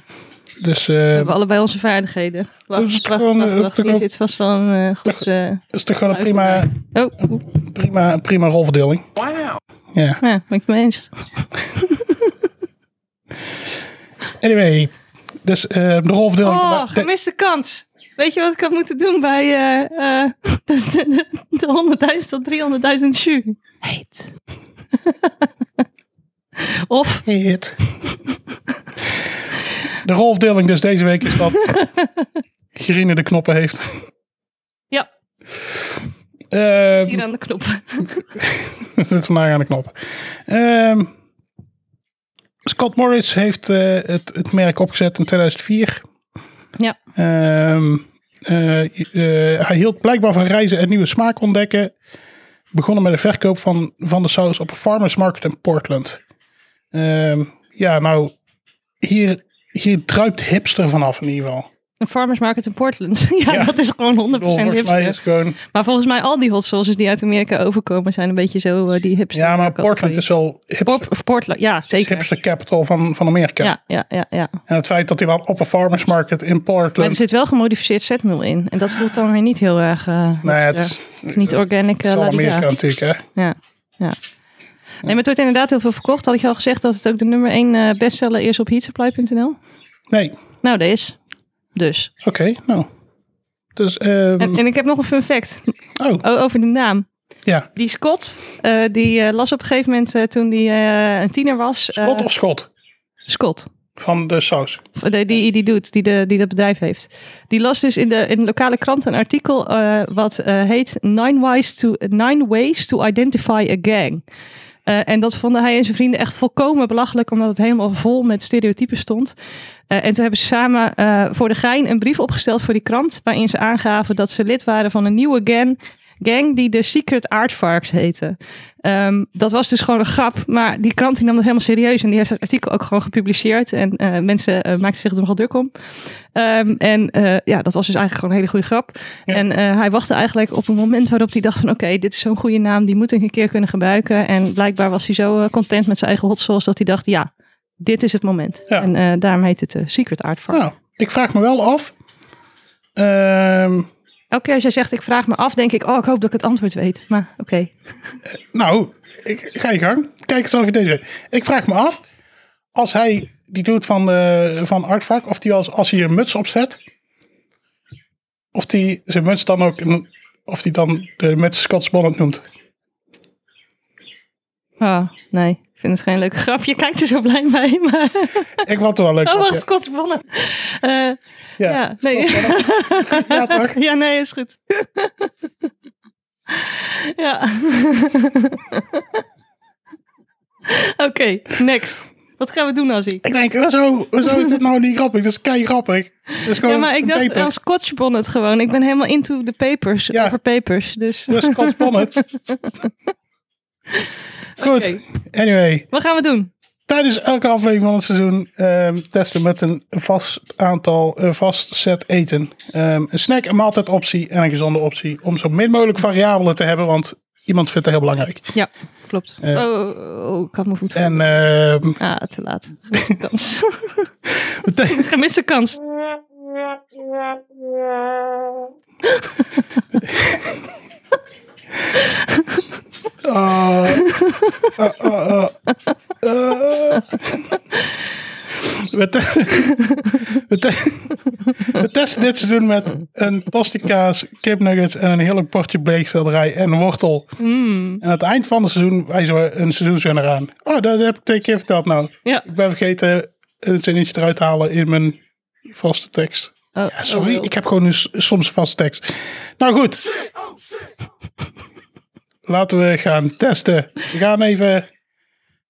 S1: Dus
S2: We
S1: eh,
S2: hebben allebei onze vaardigheden.
S1: Dat is
S2: Wacht,
S1: toch
S2: wacht,
S1: gewoon,
S2: wacht.
S1: eh,
S2: wacht.
S1: toch
S2: Hier
S1: ook-
S2: zit vast wel een eh, goed... eh,
S1: het is toch gewoon een prima,
S2: Oh, oep.
S1: prima, prima rolverdeling. Wauw. Ja.
S2: ja, ben ik het mee eens.
S1: Anyway, dus eh, de rolverdeling.
S2: Oh,
S1: vandaag- de-
S2: gemiste kans. Weet je wat ik had moeten doen bij eh, <laughs> eh, de, de, de 100.000 tot 300.000 jus? Heet. <laughs> of,
S1: Hit. De rolverdeling dus deze week is dat Gerine de knoppen heeft.
S2: ja,
S1: Ehm,
S2: hier aan de knop. <laughs>
S1: <laughs> zit vandaag aan de knoppen. Ehm, Scott Morris heeft eh, het, het merk opgezet in 2004.
S2: ja,
S1: Ehm, eh, eh, hij hield blijkbaar van reizen en nieuwe smaak ontdekken. Begonnen met de verkoop van, van de saus op een farmers market in Portland. Ehm, ja, nou, hier, hier druipt hipster vanaf in ieder geval.
S2: een farmers market in Portland. <laughs> ja,
S1: Ja.
S2: dat is gewoon 100%
S1: Ik bedoel, Volgens mij
S2: hipster.
S1: is het gewoon...
S2: Maar volgens mij al die hot sauces die uit Amerika overkomen zijn een beetje zo eh, die hipster.
S1: Ja, maar
S2: categorie.
S1: Portland is wel hipster,
S2: Por- Portland, ja,
S1: is
S2: zeker.
S1: hipster capital van, van Amerika.
S2: Ja, ja, ja, ja. Maar
S1: En het feit dat hij dan op een farmers market in
S2: er
S1: Portland...
S2: zit wel gemodificeerd zetmeel in. En dat voelt dan weer niet heel erg... eh,
S1: Nee, het
S2: hipster.
S1: is,
S2: Het is niet organic.
S1: het
S2: eh,
S1: is wel
S2: la di da.
S1: Amerika natuurlijk, hè.
S2: Ja, ja. Nee, maar het wordt inderdaad heel veel verkocht. Had ik je al gezegd dat het ook de nummer 1 eh, bestseller is op heatsupply.nl?
S1: Nee,
S2: Nou, dat is. Dus.
S1: oké, nou. Dus, ehm,
S2: En, en ik heb nog een fun fact
S1: oh,
S2: o- over de naam.
S1: ja.
S2: Die Scott, eh, die eh, las op een gegeven moment eh, toen hij eh, een tiener was. eh,
S1: Schot of schot?
S2: Scott.
S1: Van de saus.
S2: Of, eh, Die, die doet, die, de, die dat bedrijf heeft. Die las dus in de, in de lokale krant een artikel eh, wat eh, heet Nine Ways, to, Nine Ways to Identify a Gang. Eh, en dat vonden hij en zijn vrienden echt volkomen belachelijk, omdat het helemaal vol met stereotypen stond. Eh, en toen hebben ze samen eh, voor de gein een brief opgesteld voor die krant, waarin ze aangaven dat ze lid waren van een nieuwe gang, gang die de Secret Aardvarks heette. Ehm, dat was dus gewoon een grap, maar die krant die nam dat helemaal serieus en die heeft het artikel ook gewoon gepubliceerd en eh, mensen eh, maakten zich er nogal druk om. Ehm, en eh, ja, dat was dus eigenlijk gewoon een hele goede grap. En eh, hij wachtte eigenlijk op een moment waarop hij dacht van oké, dit is zo'n goede naam, die moet ik een keer kunnen gebruiken. En blijkbaar was hij zo eh, content met zijn eigen hot sauce dat hij dacht ja, dit is het moment.
S1: Ja.
S2: En eh, daarom heet het eh, Secret Aardvark.
S1: Nou, ik vraag me wel af. ehm,
S2: Elke keer als jij zegt ik vraag me af, denk ik oh ik hoop dat ik het antwoord weet. Maar oké,
S1: nou, ik, ga je gang. Kijk eens of je deze weet. Ik vraag me af, als hij die doet van, eh van Artvark, of die als, als hij een muts opzet, of die zijn muts dan ook, een- of die dan de muts Scots Bonnet noemt.
S2: Ah, nee. Ik vind het geen leuke grap. Je kijkt er zo blij bij. Maar...
S1: Ik vond het wel leuk.
S2: Oh, wacht,
S1: ja.
S2: Scott Bonnet. Eh,
S1: Ja.
S2: ja, nee.
S1: Ja, toch?
S2: <laughs> ja, nee, is goed. ja. <laughs> Oké, next. Wat gaan we doen, Azzie?
S1: Ik denk, hoezo, hoezo is dit nou niet grappig? Dat is kei grappig. Dat is gewoon
S2: Ja, maar ik
S1: een
S2: dacht
S1: paper.
S2: aan Scotch Bonnet gewoon. Ik ben helemaal into the papers,
S1: Ja.
S2: over papers. Dus
S1: <laughs> Dus Scott Bonnet. Goed,
S2: Oké.
S1: anyway.
S2: wat gaan we doen?
S1: Tijdens elke aflevering van het seizoen ehm, testen we met een vast aantal, eh, vast set eten. Ehm, een snack, een maaltijdoptie en een gezonde optie. Om zo min mogelijk variabelen te hebben, want iemand vindt dat heel belangrijk.
S2: Ja, klopt.
S1: Eh.
S2: oh, oh, oh, ik had mijn voet.
S1: En ehm,
S2: Ah, te laat.
S1: <laughs>
S2: Gemiste kans.
S1: we te-
S2: <laughs> Gemiste kans.
S1: Ah, ah, ah, ah, ah. We, te- <laughs> we, te- we testen dit seizoen met een tosticaas, kipnuggets en een heerlijk portje bleekselderij en wortel. En aan het eind van het seizoen wijzen we een seizoenswinnaar aan. Oh, dat heb ik twee keer verteld nou.
S2: Ja.
S1: Ik ben vergeten een zinnetje eruit te halen in mijn vaste tekst.
S2: Oh,
S1: Ja, sorry,
S2: oh,
S1: ik heb gewoon een s- soms vaste tekst. Nou goed. Laten we gaan testen. We gaan even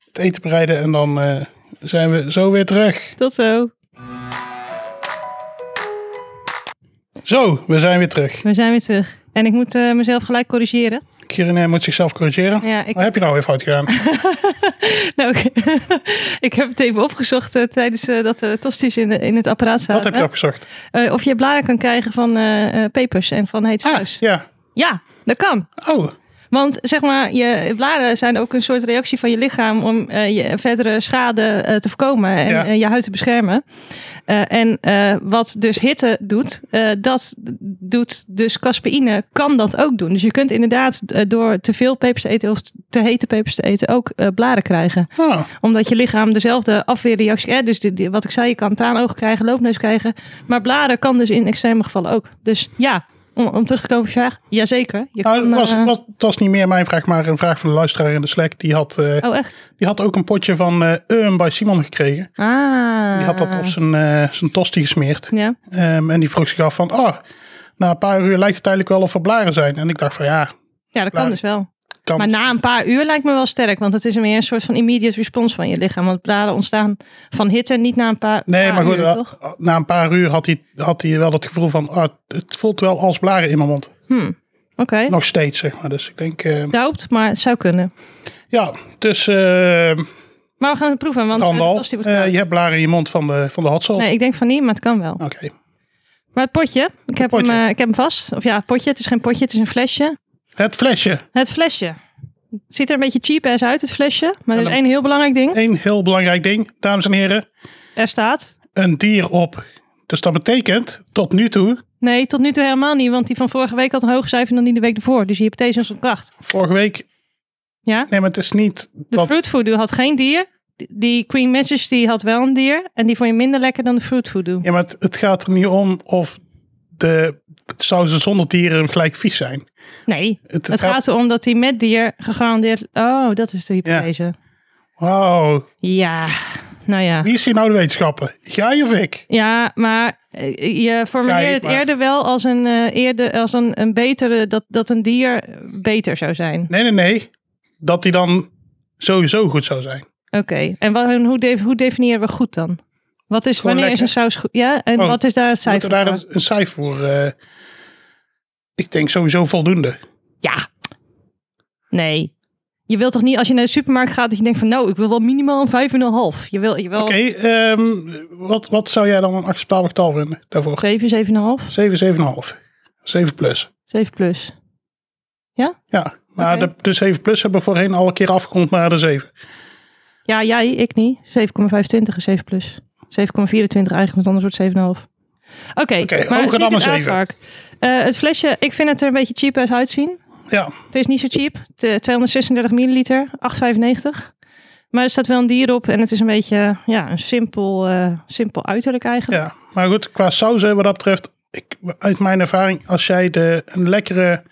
S1: het eten bereiden en dan eh, zijn we zo weer terug.
S2: Tot zo.
S1: Zo, we zijn weer terug.
S2: We zijn weer terug. En ik moet eh, mezelf gelijk corrigeren.
S1: Kirin eh, moet zichzelf corrigeren.
S2: Ja, ik-
S1: Wat heb je nou weer fout gedaan?
S2: Nou, ik, <laughs> ik heb het even opgezocht eh, tijdens eh, dat de tosties in, in het apparaat zaten.
S1: Wat heb je opgezocht?
S2: Eh, of je blaren kan krijgen van eh, eh, pepers en van heet
S1: Ah,
S2: saus.
S1: ja.
S2: Ja, dat kan.
S1: Oh,
S2: Want zeg maar, je blaren zijn ook een soort reactie van je lichaam om eh, je verdere schade eh, te voorkomen en
S1: Ja.
S2: eh, je huid te beschermen. Eh, en eh, wat dus hitte doet, eh, dat doet dus caspeïne, kan dat ook doen. Dus je kunt inderdaad eh, door te veel pepers te eten of te hete pepers te eten ook eh, blaren krijgen.
S1: ah.
S2: Omdat je lichaam dezelfde afweerreactie, eh, dus die- die- wat ik zei, je kan traanogen krijgen, loopneus krijgen. Maar blaren kan dus in extreme gevallen ook. Dus ja, om, om terug te komen op je vraag, jazeker. Je
S1: Nou,
S2: kan,
S1: het, was,
S2: eh,
S1: was- het was niet meer mijn vraag, maar een vraag van de luisteraar in de Slack. Die had, eh,
S2: Oh, echt?
S1: die had ook een potje van eh Urn bij Simon gekregen.
S2: Ah.
S1: Die had dat op zijn, eh, zijn tosti gesmeerd.
S2: Ja.
S1: Ehm, en die vroeg zich af van, oh, na een paar uur lijkt het eigenlijk wel of er blaren zijn. En ik dacht van, ja,
S2: ja, dat
S1: Maar-
S2: kan dus wel.
S1: kan
S2: Maar na een paar uur lijkt me wel sterk, want het is meer een soort van immediate response van je lichaam. Want blaren ontstaan van hitte en niet na een paar,
S1: Nee,
S2: paar
S1: maar goed,
S2: uur,
S1: eh,
S2: toch?
S1: na een paar uur had hij, had hij wel het gevoel van, ah, het voelt wel als blaren in mijn mond.
S2: Oké,
S1: Nog steeds, zeg maar. Dus ik denk, eh,
S2: doubt, maar het zou kunnen.
S1: ja, dus eh
S2: Maar we gaan het proeven, want eh, de
S1: Randal,
S2: tosti wordt
S1: eh,
S2: koud.
S1: je hebt blaren in je mond van de, van de hot sauce.
S2: Nee, ik denk van niet, maar het kan wel.
S1: Oké,
S2: Maar het potje, ik heb,
S1: potje.
S2: Hem, eh, ik heb hem vast. Of ja, het potje, het is geen potje, het is een flesje.
S1: het flesje.
S2: Het flesje. Het ziet er een beetje cheap ass uit, het flesje. Maar er is
S1: dan-
S2: één heel belangrijk ding.
S1: Eén heel belangrijk ding, dames en heren.
S2: Er staat...
S1: Een dier op. Dus dat betekent, tot nu toe,
S2: Nee, tot nu toe helemaal niet, want die van vorige week had een hoger cijfer dan die de week ervoor. Dus die hypothese is op kracht.
S1: vorige week...
S2: Ja?
S1: Nee, maar het is niet
S2: De
S1: dat...
S2: Fruit Voodoo had geen dier. Die Queen Majesty had wel een dier. En die vond je minder lekker dan de Fruit Voodoo.
S1: Ja, maar het, het gaat er niet om of de sauzen zonder dieren gelijk vies zijn.
S2: Nee,
S1: Het
S2: het,
S1: gaat-
S2: gaat... erom dat die met dier gegarandeerd... Oh, dat is de hypothese.
S1: Wauw,
S2: Ja, nou ja.
S1: wie is hier nou de wetenschapper? Jij of ik?
S2: Ja, maar eh, je
S1: Kijk,
S2: formuleert het
S1: maar-
S2: eerder wel als een, eh, eerder, als een, een betere... Dat, dat een dier beter zou zijn.
S1: Nee, nee, nee. Dat die dan sowieso goed zou zijn.
S2: Oké, en wat, en hoe, de- hoe definiëren we goed dan? Wat is,
S1: Gewoon
S2: wanneer is een
S1: lekker.
S2: saus goed? Ja, en
S1: Oh,
S2: wat is daar het
S1: Moeten
S2: cijfer
S1: we daar
S2: voor?
S1: een, een cijfer voor... eh, ik denk sowieso voldoende.
S2: Oh. Ja. Nee. Je wilt toch niet als je naar de supermarkt gaat dat je denkt van nou, ik wil wel minimaal een 5,5. Je wil, je wil
S1: Oké, ehm, wat, wat zou jij dan een acceptabel getal vinden daarvoor?
S2: 7, 7,5,
S1: 7, 7,5. 7 plus.
S2: 7 plus.
S1: Ja, maar
S2: Oké.
S1: de, de 7 plus hebben we voorheen alle keer afgerond naar de 7.
S2: Ja, jij, ik niet. 7,25 is 7 plus. 7,24 eigenlijk, want anders wordt het 7,5. Oké, maar
S1: hoger dan
S2: zie ik
S1: een
S2: het
S1: 7.
S2: aardvark. Eh, het flesje, ik vind het er een beetje cheap uit uitzien.
S1: Ja,
S2: Het is niet zo cheap. Te- 236 milliliter, 8,95. Maar er staat wel een dier op en het is een beetje ja, een simpel, eh, simpel uiterlijk eigenlijk.
S1: Ja, maar goed, qua sauzen wat dat betreft, ik, uit mijn ervaring, als jij de, een lekkere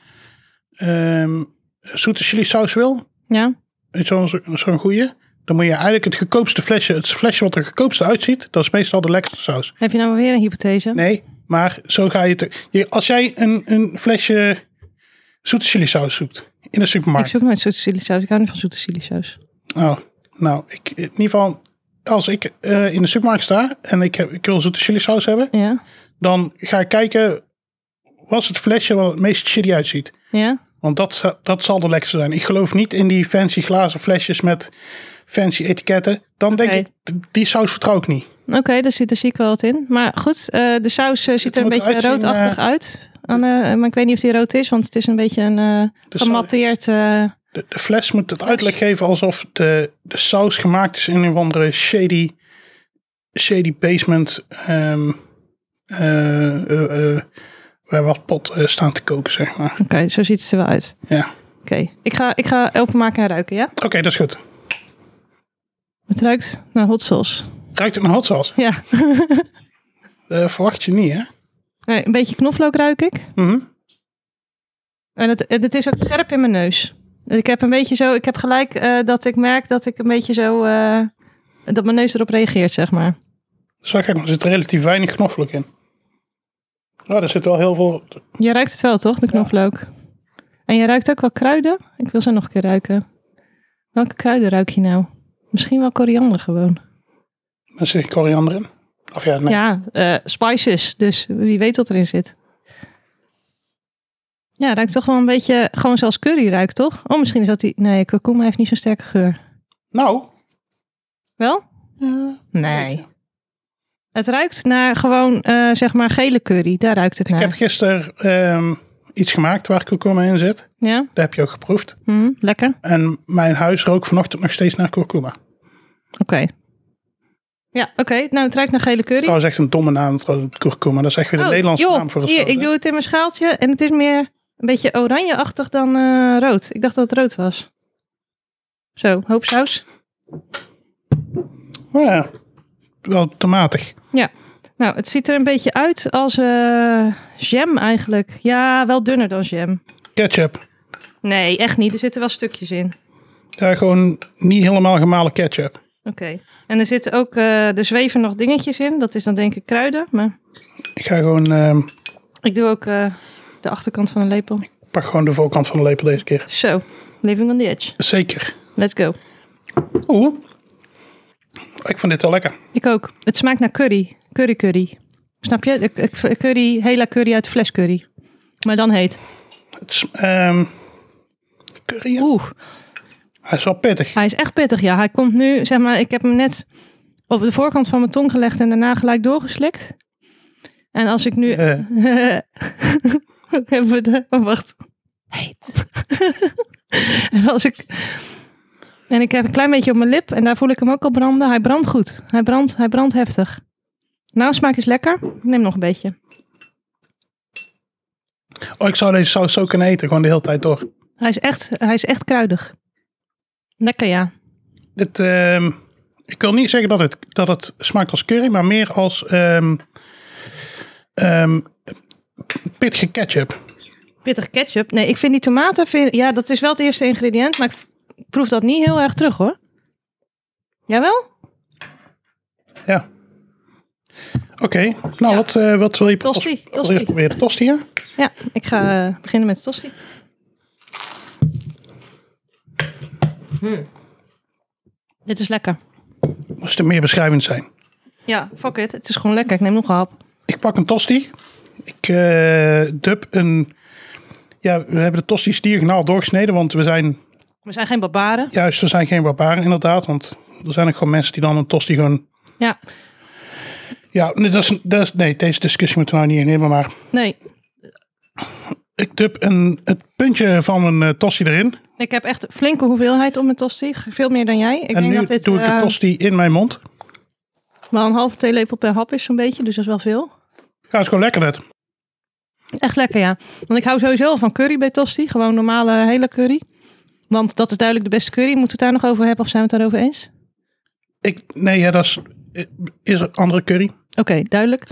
S1: ehm, zoete chili saus wil,
S2: Ja,
S1: weet je wel, zo- zo'n goede, Dan moet je eigenlijk het goedkoopste flesje, het flesje wat er goedkoopste uitziet, dat is meestal de lekkerste saus.
S2: Heb je nou weer een hypothese?
S1: Nee, maar zo ga je het. je- Als jij een, een flesje zoete chili saus zoekt in de
S2: Ik
S1: supermarkt.
S2: zoek nooit zoete chilisaus. Ik hou niet van zoete chilisaus.
S1: Oh, nou, ik, in ieder geval, als ik eh, in de supermarkt sta en ik, heb, ik wil zoete chili saus hebben,
S2: Ja?
S1: dan ga ik kijken, wat is het flesje wat het meest chili uitziet?
S2: Ja?
S1: Want dat, za- dat zal de lekkerste zijn. Ik geloof niet in die fancy glazen flesjes met fancy etiketten. Dan
S2: Oké.
S1: denk ik, d- die saus vertrouw ik niet.
S2: Oké, daar, zit- daar zie ik wel wat in. Maar goed, eh, de saus eh, ziet er een
S1: moet
S2: beetje
S1: eruit zien,
S2: roodachtig
S1: eh,
S2: uit. Aan, eh, maar ik weet niet of die rood is, want het is een beetje een eh
S1: De saus-
S2: gematteerd... eh,
S1: De, de fles moet het uitleg geven alsof de, de saus gemaakt is in een of andere shady, shady basement. ehm eh, eh, eh, waar wat pot eh, staan te koken, zeg maar.
S2: Oké, zo ziet het er wel uit.
S1: Ja.
S2: Oké, ik, ga, ik ga openmaken en ruiken, ja?
S1: Oké, dat is goed.
S2: Het ruikt naar hot sauce. <laughs>
S1: Ruikt het naar hot sauce?
S2: Ja,
S1: Eh, verwacht je niet, hè?
S2: Nee, Eh, een beetje knoflook ruik ik.
S1: Mhm.
S2: En het, en het is ook scherp in mijn neus. Ik heb een beetje zo, ik heb gelijk eh, dat ik merk dat ik een beetje zo, eh, dat mijn neus erop reageert, zeg maar.
S1: Zo Dus kijk, maar er zit relatief weinig knoflook in. Nou, er zit wel heel veel...
S2: Je ruikt het wel, toch? De knoflook. En je ruikt ook wel kruiden. Ik wil ze nog een keer ruiken. Welke kruiden ruik je nou? Misschien wel koriander gewoon.
S1: Er zit koriander in. Of ja, nee.
S2: Ja, eh, spices. Dus wie weet wat erin zit. Ja, ruikt toch wel een beetje, gewoon zoals curry ruikt, toch? Oh, misschien is dat die... Nee, kurkuma heeft niet zo'n sterke geur.
S1: Nou,
S2: Wel?
S1: eh,
S2: Nee. Het ruikt naar gewoon, eh, zeg maar, gele curry. Daar ruikt het
S1: ik
S2: naar.
S1: heb gisteren ehm, iets gemaakt waar kurkuma in zit.
S2: Ja?
S1: Dat heb je ook geproefd.
S2: Hm, lekker.
S1: En mijn huis rook vanochtend nog steeds naar kurkuma. Het
S2: Oké. Ja, oké. Nou, het ruikt naar gele
S1: is
S2: curry.
S1: trouwens echt een domme naam, trouwens, kurkuma. Dat is echt weer de
S2: Oh,
S1: Nederlandse
S2: joh,
S1: naam voor een
S2: Hier,
S1: saus,
S2: ik
S1: hè?
S2: doe het in mijn schaaltje en het is meer een beetje oranjeachtig dan eh, rood. Ik dacht dat het rood was. Zo, hoop saus.
S1: Maar ja, wel tomatig.
S2: Ja. Nou, het ziet er een beetje uit als eh, jam eigenlijk. Ja, wel dunner dan jam.
S1: Ketchup.
S2: Nee, echt niet. Er zitten wel stukjes in.
S1: Ja, gewoon niet helemaal gemalen ketchup.
S2: Oké. En er zitten ook, eh, er zweven nog dingetjes in. Dat is dan denk ik kruiden. Maar
S1: Ik ga gewoon, ehm,
S2: ik doe ook eh, de achterkant van een lepel.
S1: ik pak gewoon de voorkant van de lepel deze keer.
S2: Zo, living on the edge.
S1: Zeker.
S2: Let's go.
S1: Oeh. Ik vond dit wel lekker.
S2: Ik ook. Het smaakt naar curry. Curry curry. Snap je? Ik- ik- Curry, hela curry uit de fles curry. Maar dan heet.
S1: Het is, ehm, curry. ja.
S2: Oeh,
S1: Hij is wel pittig.
S2: hij is echt pittig. Ja, hij komt nu, zeg maar, ik heb hem net op de voorkant van mijn tong gelegd en daarna gelijk doorgeslikt. En als ik nu...
S1: Eh,
S2: <laughs> Hebben we de... oh, wacht. Heet. <laughs> en als ik... En ik heb een klein beetje op mijn lip en daar voel ik hem ook al branden. Hij brandt goed. Hij brandt, hij brandt heftig. Nasmaak is lekker. Ik neem nog een beetje.
S1: oh, ik zou deze saus zo kunnen eten, gewoon de hele tijd door.
S2: Hij is echt, hij is echt kruidig. Lekker, ja.
S1: Dit, ehm, ik wil niet zeggen dat het, dat het smaakt als curry, maar meer als ehm ehm, pittige ketchup.
S2: Pittig ketchup. Nee, ik vind die tomaten... Vind, ja, dat is wel het eerste ingrediënt, maar ik v- proef dat niet heel erg terug, hoor. Jawel?
S1: Ja. Oké, nou wat, eh, wat wil je
S2: Tosti,
S1: als- als
S2: tosti.
S1: eerst proberen? Tosti, ja?
S2: Ja, ik ga eh, beginnen met tosti. Hmm. Dit is lekker.
S1: Moest het meer beschrijvend zijn.
S2: Ja, fuck it. Het is gewoon lekker. Ik neem nog een hap.
S1: Ik pak een tosti. Ik eh dub een... Ja, we hebben de tosti's diagonaal doorgesneden, want we zijn...
S2: We zijn geen barbaren.
S1: Juist, er zijn geen barbaren inderdaad, want er zijn ook gewoon mensen die dan een tosti gewoon...
S2: Ja,
S1: Ja, nee, dat is, dat is, nee deze discussie moeten we nou niet innemen, maar...
S2: nee.
S1: Ik dub een, het puntje van mijn eh, tosti erin.
S2: Ik heb echt een flinke hoeveelheid op mijn tosti. Veel meer dan jij. Ik
S1: en
S2: denk
S1: nu
S2: dat dit,
S1: doe ik de
S2: eh,
S1: tosti in mijn mond.
S2: Maar een halve theelepel per hap is zo'n beetje, dus dat is wel veel.
S1: Ja, het is gewoon lekker net.
S2: Echt lekker, ja. Want ik hou sowieso wel van curry bij tosti. Gewoon normale hele curry. Want dat is duidelijk de beste curry. Moeten we het daar nog over hebben of zijn we het daarover eens?
S1: Ik, nee, ja, dat eh, is, is er andere curry.
S2: Oké, duidelijk.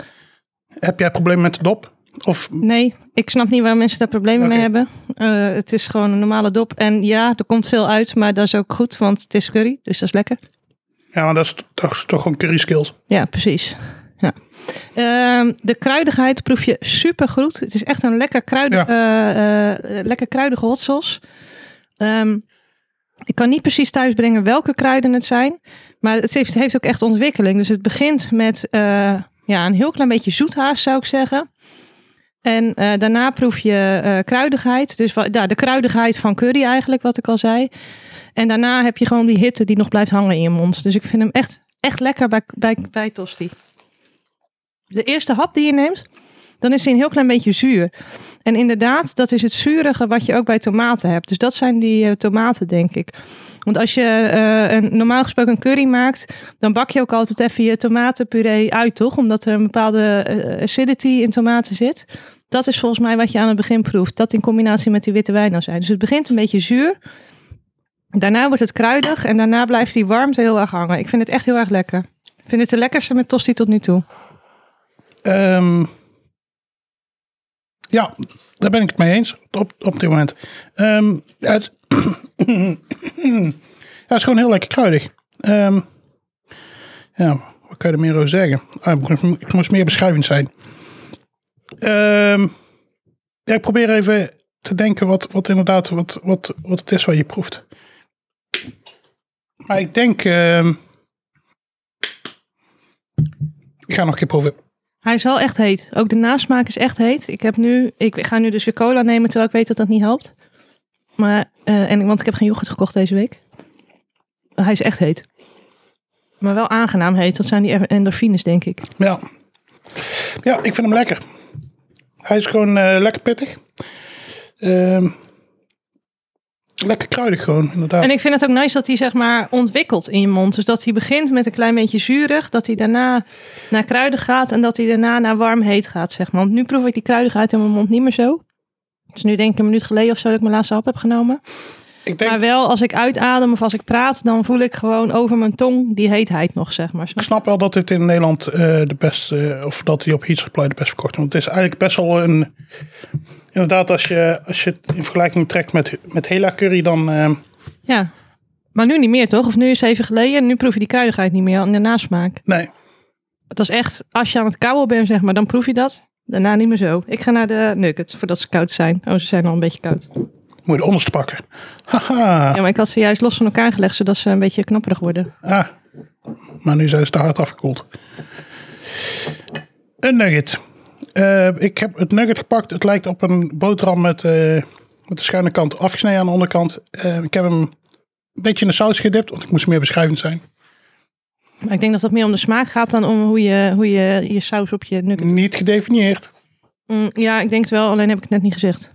S1: Heb jij problemen met de dop? Of
S2: Nee, ik snap niet waar mensen daar problemen mee
S1: Oké.
S2: hebben. Eh, het is gewoon een normale dop. En ja, er komt veel uit, maar dat is ook goed, want het is curry, dus dat is lekker.
S1: ja, maar dat is, dat is toch gewoon curry skills.
S2: Ja, precies. Ja. Ehm, de kruidigheid proef je super goed. Het is echt een lekker, kruidige, eh, eh, lekker kruidige hot sauce. Ehm, ik kan niet precies thuisbrengen welke kruiden het zijn. Maar het heeft, heeft ook echt ontwikkeling. Dus het begint met eh, ja, een heel klein beetje zoethaas, zou ik zeggen. En eh, daarna proef je eh, kruidigheid. Dus wa- ja, de kruidigheid van curry eigenlijk, wat ik al zei. En daarna heb je gewoon die hitte die nog blijft hangen in je mond. Dus ik vind hem echt, echt lekker bij, bij, bij tosti. De eerste hap die je neemt, dan is hij een heel klein beetje zuur. En inderdaad, dat is het zurige wat je ook bij tomaten hebt. Dus dat zijn die eh, tomaten, denk ik. Want als je eh, een, normaal gesproken een curry maakt, dan bak je ook altijd even je tomatenpuree uit, toch? Omdat er een bepaalde eh, acidity in tomaten zit. Dat is volgens mij wat je aan het begin proeft. Dat in combinatie met die witte wijn al zijn. Dus het begint een beetje zuur. Daarna wordt het kruidig en daarna blijft die warmte heel erg hangen. Ik vind het echt heel erg lekker. Ik vind het de lekkerste met tosti tot nu toe.
S1: Ehm, ja, daar ben ik het mee eens op, op dit moment. Ehm, ja, het, <clears throat> ja, het is gewoon heel lekker kruidig. Ehm, ja, wat kan je er meer over zeggen? Ah, ik, moest, ik moest meer beschrijvend zijn. Ehm, ja, ik probeer even te denken wat, wat inderdaad wat, wat, wat het is wat je proeft. Maar ik denk... ehm, ik ga nog een keer proeven.
S2: Hij is wel echt heet. Ook de nasmaak is echt heet. Ik, heb nu, ik ga nu dus weer cola nemen, terwijl ik weet dat dat niet helpt. Maar, eh, en, want ik heb geen yoghurt gekocht deze week. Hij is echt heet. Maar wel aangenaam heet. Dat zijn die e- endorfines, denk ik.
S1: Ja. Ja, ik vind hem lekker. Hij is gewoon eh, lekker pittig. Ehm, lekker kruidig gewoon, inderdaad.
S2: En ik vind het ook nice dat hij zeg maar ontwikkelt in je mond. Dus dat hij begint met een klein beetje zuurig. Dat hij daarna naar kruidig gaat. En dat hij daarna naar warm heet gaat, zeg maar. Want nu proef ik die kruidigheid in mijn mond niet meer zo. Het is nu denk ik een minuut geleden of zo dat ik mijn laatste hap heb genomen.
S1: Ik denk,
S2: Maar wel, als ik uitadem of als ik praat, dan voel ik gewoon over mijn tong die heetheid nog, zeg maar.
S1: ik
S2: Snap je?
S1: snap wel dat dit in Nederland eh, de best, eh, of dat hij op Heat Supply de best verkocht. Want het is eigenlijk best wel een, inderdaad als je, als je het in vergelijking trekt met, met Hela Curry, dan ehm,
S2: Ja. Maar nu niet meer, toch? Of nu is het even geleden en nu proef je die kruidigheid niet meer en de nasmaak.
S1: nee.
S2: Dat is echt, als je aan het kauwen bent, zeg maar, dan proef je dat. Daarna niet meer zo. Ik ga naar de nuggets, voordat ze koud zijn. Oh, ze zijn al een beetje koud.
S1: Moet je de onderste pakken. Haha.
S2: Ja, maar ik had ze juist los van elkaar gelegd, zodat ze een beetje knapperig worden.
S1: Ah. Maar nu zijn ze te hard afgekoeld. Een nugget. Eh, ik heb het nugget gepakt. Het lijkt op een boterham met, eh, met de schuine kant afgesneden aan de onderkant. Eh, ik heb hem een beetje in de saus gedipt, want ik moest meer beschrijvend zijn.
S2: Maar ik denk dat dat meer om de smaak gaat dan om hoe je hoe je, je saus op je nugget...
S1: Niet gedefinieerd.
S2: Mm, ja, ik denk het wel, alleen heb ik het net niet gezegd.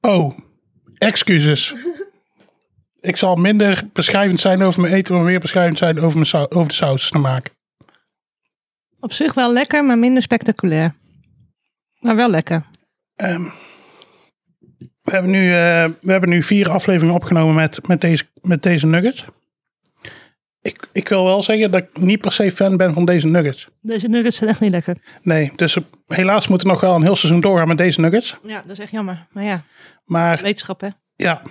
S1: Oh, excuses. Ik zal minder beschrijvend zijn over mijn eten, maar meer beschrijvend zijn over, mijn sau- over de saus te maken.
S2: Op zich wel lekker, maar minder spectaculair. Maar wel lekker.
S1: We hebben nu, eh, we hebben nu vier afleveringen opgenomen met, met, deze, met deze nuggets. Ik, ik wil wel zeggen dat ik niet per se fan ben van deze nuggets.
S2: Deze nuggets zijn echt niet lekker.
S1: Nee, dus helaas moeten we nog wel een heel seizoen doorgaan met deze nuggets.
S2: Ja, dat is echt jammer. Maar ja,
S1: Maar
S2: wetenschap hè.
S1: ja,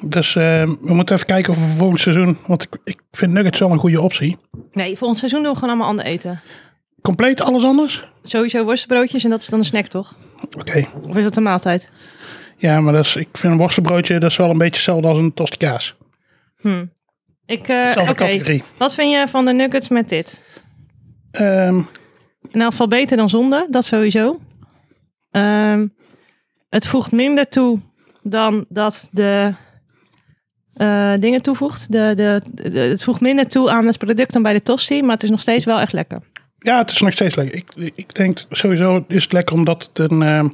S1: dus eh, we moeten even kijken of we volgend seizoen... Want ik, ik vind nuggets wel een goede optie.
S2: Nee, volgend seizoen doen we gewoon allemaal ander eten.
S1: Compleet alles anders?
S2: Sowieso worstenbroodjes en dat is dan een snack toch?
S1: Oké.
S2: Of is dat een maaltijd?
S1: Ja, maar dat is, ik vind een worstenbroodje dat is wel een beetje hetzelfde als een tosti kaas.
S2: Ik, eh, oké.
S1: Zelfde categorie.
S2: Wat vind je van de nuggets met dit?
S1: Ehm,
S2: In elk geval beter dan zonder, dat sowieso. Ehm, het voegt minder toe dan dat de eh, dingen toevoegt. De, de, de- het voegt minder toe aan het product dan bij de tosti, maar het is nog steeds wel echt lekker.
S1: Ja, het is nog steeds lekker. Ik, ik denk sowieso is het lekker omdat het een, ehm,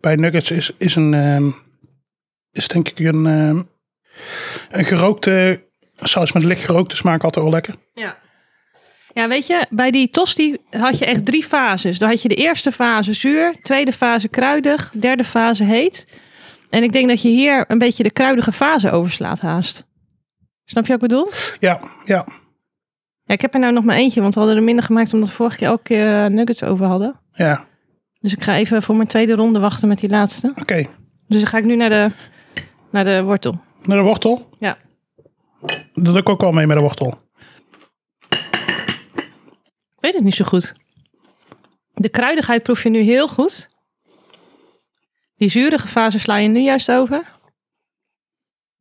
S1: bij nuggets is, is een ehm, is denk ik een, ehm, een gerookte saus met licht gerookte smaak altijd wel lekker.
S2: Ja. Ja, weet je, bij die tosti had je echt drie fases. Dan had je de eerste fase zuur, tweede fase kruidig, derde fase heet. En ik denk dat je hier een beetje de kruidige fase overslaat haast. Snap je wat ik bedoel?
S1: Ja, ja,
S2: Ja, ik heb er nou nog maar eentje, want we hadden er minder gemaakt omdat we vorige keer elke keer eh, nuggets over hadden.
S1: ja.
S2: Dus ik ga even voor mijn tweede ronde wachten met die laatste.
S1: Oké,
S2: Dus dan ga ik nu naar de, naar de wortel.
S1: naar de wortel.
S2: Ja.
S1: Dat doe ik ook wel mee met de wortel.
S2: Ik weet het niet zo goed. De kruidigheid proef je nu heel goed. Die zurige fase sla je nu juist over.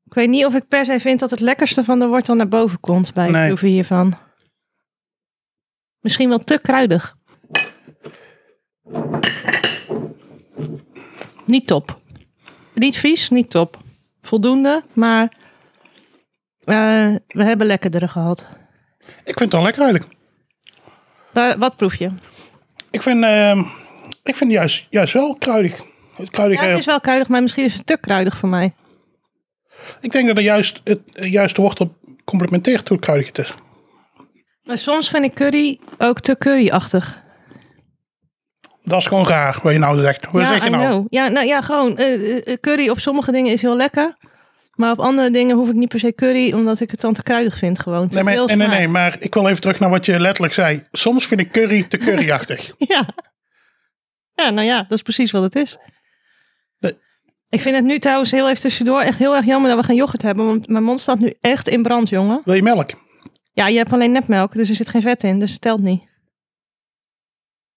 S2: Ik weet niet of ik per se vind dat het lekkerste van de wortel naar boven komt bij het
S1: Nee.
S2: proeven hiervan. Misschien wel te kruidig. Niet top. Niet vies, niet top. Voldoende, maar eh, we hebben lekkerdere gehad.
S1: Ik vind het wel lekker eigenlijk.
S2: Waar- wat proef je?
S1: Ik vind, ehm, ik vind het juist, juist wel kruidig. Het kruidige,
S2: Ja, het is wel kruidig, maar misschien is het te kruidig voor mij.
S1: Ik denk dat het juist, het, juist de wortel complementeert hoe kruidig het is.
S2: Maar soms vind ik curry ook te curryachtig.
S1: Dat is gewoon raar wat je nou zegt. Wat
S2: ja,
S1: zeg je
S2: I
S1: nou?
S2: know. Ja, nou ja, gewoon eh, eh, curry op sommige dingen is heel lekker. Maar op andere dingen hoef ik niet per se curry, omdat ik het dan te kruidig vind gewoon. Te
S1: Nee, maar,
S2: veel
S1: nee, nee,
S2: smaak.
S1: nee, maar ik wil even terug naar wat je letterlijk zei. Soms vind ik curry te
S2: <laughs>
S1: curryachtig.
S2: Ja. ja, nou ja, dat is precies wat het is.
S1: Nee.
S2: Ik vind het nu trouwens heel even tussendoor echt heel erg jammer dat we geen yoghurt hebben. Want mijn mond staat nu echt in brand, jongen.
S1: wil je melk?
S2: Ja, je hebt alleen nepmelk, dus er zit geen vet in. Dus het telt niet.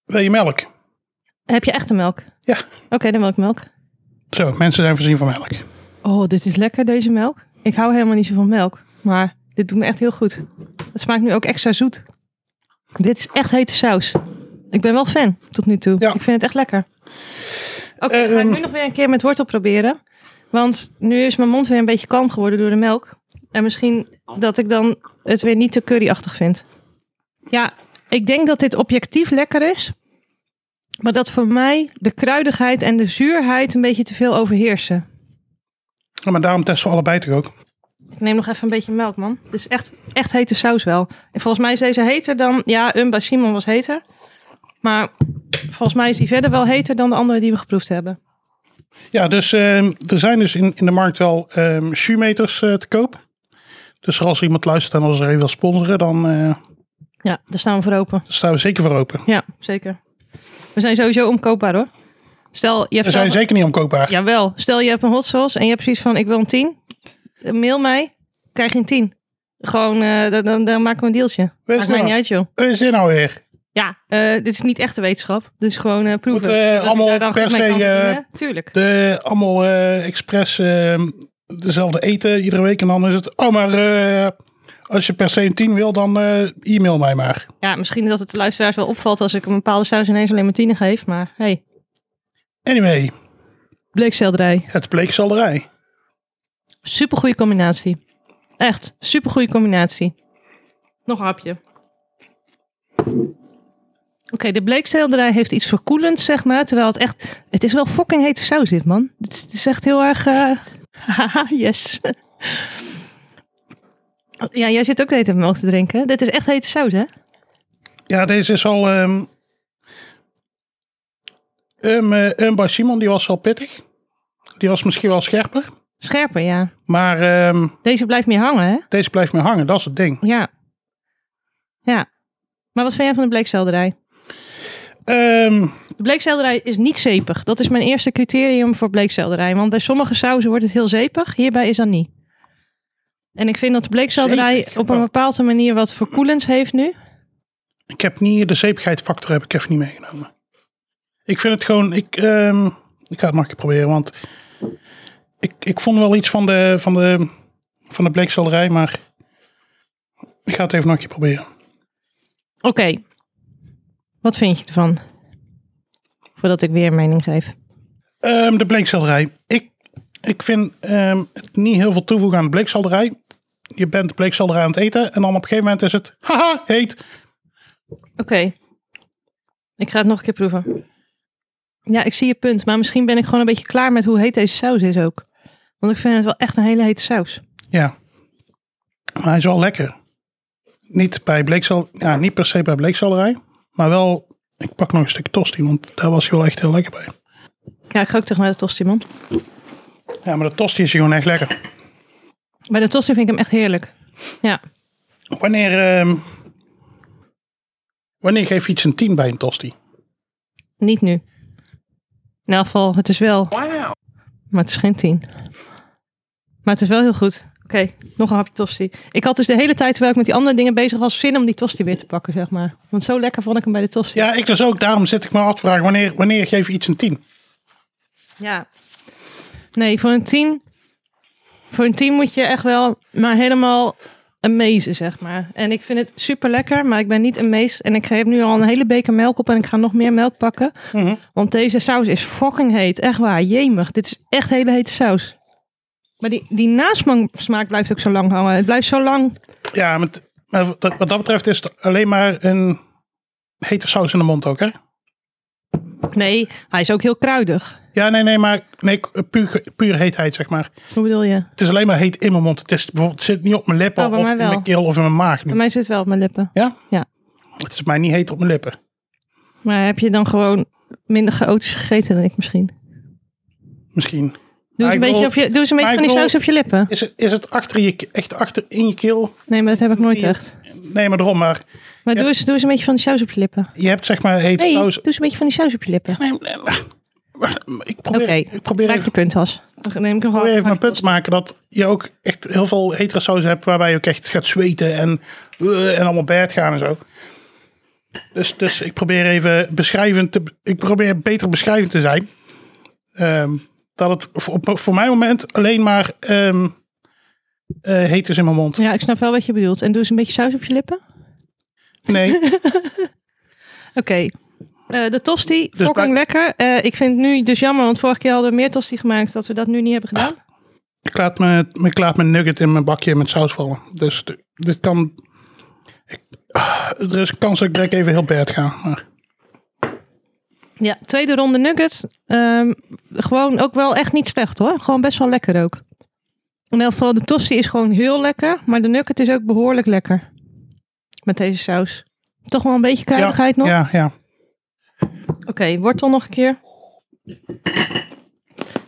S1: Wil je melk?
S2: Heb je echte melk?
S1: Ja.
S2: Oké, dan wil ik melk.
S1: Zo, mensen zijn voorzien van melk.
S2: Oh, dit is lekker, deze melk. Ik hou helemaal niet zo van melk. Maar dit doet me echt heel goed. Het smaakt nu ook extra zoet. Dit is echt hete saus. Ik ben wel fan tot nu toe.
S1: Ja.
S2: Ik vind het echt lekker. Oké,
S1: Eh,
S2: ga ik nu
S1: ehm.
S2: nog weer een keer met wortel proberen. Want nu is mijn mond weer een beetje kalm geworden door de melk. En misschien dat ik dan het weer niet te curryachtig vind. Ja, ik denk dat dit objectief lekker is. Maar dat voor mij de kruidigheid en de zuurheid een beetje te veel overheersen.
S1: Ja, maar daarom testen we allebei toch ook.
S2: Ik neem nog even een beetje melk, man. Het is echt, echt hete saus wel. En volgens mij is deze heter dan... Ja, een bij Simon was heter. Maar volgens mij is die verder wel heter dan de andere die we geproefd hebben.
S1: Ja, dus ehm, er zijn dus in, in de markt wel ehm shoemeters eh, te koop. Dus als er iemand luistert en als er een wil sponsoren, dan eh,
S2: Ja, daar staan we voor open.
S1: staan we zeker voor open.
S2: Ja, zeker. We zijn sowieso omkoopbaar, hoor. Stel, je hebt...
S1: We zijn
S2: zelf-
S1: zeker niet omkoopbaar.
S2: Jawel. Stel, je hebt een hot sauce en je hebt precies van... Ik wil een 10. Eh, Mail mij. Krijg je een 10. Gewoon, eh, dan, dan, dan maken we een deeltje.
S1: Wees
S2: Maakt mij
S1: nou.
S2: niet uit, joh.
S1: Wat is dit nou weer?
S2: Ja, eh, dit is niet echte wetenschap. Dus gewoon eh, proeven.
S1: Moet, eh,
S2: Dat je
S1: allemaal
S2: daar dan goed
S1: per
S2: mee
S1: se,
S2: kan
S1: eh,
S2: verdienen. Tuurlijk.
S1: De, allemaal eh, expres ehm, dezelfde eten iedere week. En dan is het, oh maar eh, als je per se een 10 wil, dan eh, e-mail mij maar.
S2: Ja, misschien dat het de luisteraars wel opvalt als ik een bepaalde saus ineens alleen maar tienen geef. Maar hey,
S1: Anyway,
S2: bleekselderij.
S1: het bleekselderij.
S2: Supergoeie combinatie. Echt, supergoeie combinatie. Nog een hapje. Oké, de bleekselderij heeft iets verkoelends, zeg maar. Terwijl het echt... Het is wel fucking hete saus dit, man. Het is, het is echt heel erg... eh, <laughs> Haha, yes. ja, jij zit ook de hete melk te drinken. Dit is echt hete saus, hè?
S1: Ja, deze is al... ehm um, eh, um, bij Simon, die was al pittig. Die was misschien wel scherper.
S2: Scherper, ja.
S1: Maar ehm,
S2: Deze blijft meer hangen, hè?
S1: deze blijft meer hangen, dat is het ding.
S2: Ja. Ja. Maar wat vind jij van de bleekselderij?
S1: Ehm,
S2: De bleekselderij is niet zeepig. Dat is mijn eerste criterium voor bleekselderij. Want bij sommige sauzen wordt het heel zeepig. Hierbij is dat niet. En ik vind dat de bleekselderij
S1: Zeepig,
S2: op een
S1: oh.
S2: bepaalde manier wat verkoelends heeft nu.
S1: ik heb niet de zeepigheidfactor heb ik even niet meegenomen. Ik vind het gewoon, ik, ehm, ik ga het nog een keer proberen, want ik, ik vond wel iets van de, van de, van de bleekselderij, maar ik ga het even nog een keer proberen.
S2: Oké. Wat vind je ervan? Voordat ik weer een mening geef.
S1: Ehm, de bleekselderij. Ik, ik vind ehm, het niet heel veel toevoegen aan de bleekselderij. Je bent de bleekselderij aan het eten en dan op een gegeven moment is het, haha, heet.
S2: Oké. Ik ga het nog een keer proeven. Ja, ik zie je punt. Maar misschien ben ik gewoon een beetje klaar met hoe heet deze saus is ook. Want ik vind het wel echt een hele hete saus.
S1: Ja. Maar hij is wel lekker. Niet, bij bleeksel, ja, niet per se bij bleekselderij. Maar wel, ik pak nog een stuk tosti, want daar was hij wel echt heel lekker bij.
S2: Ja, ik ga ook terug naar de tosti, man.
S1: Ja, maar de tosti is gewoon echt lekker.
S2: Bij de tosti vind ik hem echt heerlijk. Ja.
S1: Wanneer, ehm, wanneer geef je iets een 10 bij een tosti?
S2: Niet nu. In elk geval, het is wel. Maar het is geen 10. Maar het is wel heel goed. Oké, nog een hapje tosti. Ik had dus de hele tijd, terwijl ik met die andere dingen bezig was, zin om die tosti weer te pakken, zeg maar. Want zo lekker vond ik hem bij de tosti.
S1: Ja, ik dus ook. Daarom zit ik me af te vragen, wanneer, wanneer geef je iets een 10?
S2: Ja. Nee, voor een 10. Voor een 10 moet je echt wel maar helemaal amazen, zeg maar. En ik vind het super lekker, maar ik ben niet amazed. En ik geef nu al een hele beker melk op en ik ga nog meer melk pakken.
S1: Mhm.
S2: Want deze saus is fucking heet. Echt waar, jemig. Dit is echt hele hete saus. Maar die, die nasmaak smaak blijft ook zo lang hangen. Het blijft zo lang.
S1: Ja, met, maar wat wat dat betreft is het alleen maar een hete saus in de mond ook, hè?
S2: Nee, hij is ook heel kruidig.
S1: Ja, nee, nee, maar nee, puur, puur heetheid, zeg maar.
S2: Hoe bedoel je?
S1: Het is alleen maar heet in mijn mond. Het, is, bijvoorbeeld, het zit niet op mijn lippen
S2: Oh, bij
S1: of
S2: mij
S1: in
S2: wel.
S1: mijn keel of in mijn maag
S2: Bij
S1: nu.
S2: mij zit het wel op mijn lippen.
S1: Ja?
S2: Ja.
S1: Het is mij niet heet op mijn lippen.
S2: Maar heb je dan gewoon minder chaotisch gegeten dan ik misschien?
S1: Misschien.
S2: Doe
S1: Maar
S2: eens
S1: Ah, ik
S2: een beetje,
S1: bedoel,
S2: op je, doe eens een beetje
S1: maar
S2: van
S1: ik
S2: die
S1: bedoel-
S2: saus op je lippen.
S1: Is het, is het achter je, ke- echt achter in je keel?
S2: Nee, maar dat heb ik nooit
S1: Die-
S2: echt.
S1: Nee, maar erom. Maar
S2: Maar
S1: Ja.
S2: doe, eens, doe eens een beetje van die saus op je lippen.
S1: je hebt zeg maar hete
S2: Nee, doe
S1: saus.
S2: eens een beetje van die saus op je lippen.
S1: Nee, nee, maar- maar ik probeer,
S2: Oké,
S1: ik probeer,
S2: Raak
S1: even,
S2: je punt als. Dan neem ik hem
S1: ik probeer
S2: gewoon
S1: even mijn punt te maken dat je ook echt heel veel hetere saus hebt waarbij je ook echt gaat zweten en, eh, en allemaal bed gaan en zo. Dus, dus ik probeer even beschrijvend te, ik probeer beter beschrijvend te zijn. Ehm, dat het voor, op- voor mijn moment alleen maar ehm, eh, heet is in mijn mond.
S2: Ja, ik snap wel wat je bedoelt. En doe eens een beetje saus op je lippen. <laughs>
S1: Nee,
S2: Oké. Eh, de tosti,
S1: Dus
S2: fucking
S1: bij-
S2: lekker. Eh, ik vind het nu dus jammer, want vorige keer hadden we meer tosti gemaakt, dat we dat nu niet hebben gedaan.
S1: ik laat mijn, ik laat mijn nugget in mijn bakje met saus vallen. Dus d- dit kan... ik- ah, er is kans dat ik direct even heel bad ga. Maar.
S2: Ja, tweede ronde nuggets. Ehm, gewoon ook wel echt niet slecht hoor. Gewoon best wel lekker ook. In elk geval, de tosti is gewoon heel lekker. Maar de nugget is ook behoorlijk lekker. Met deze saus. Toch wel een beetje kruidigheid nog.
S1: Ja, ja.
S2: Oké, wortel nog een keer.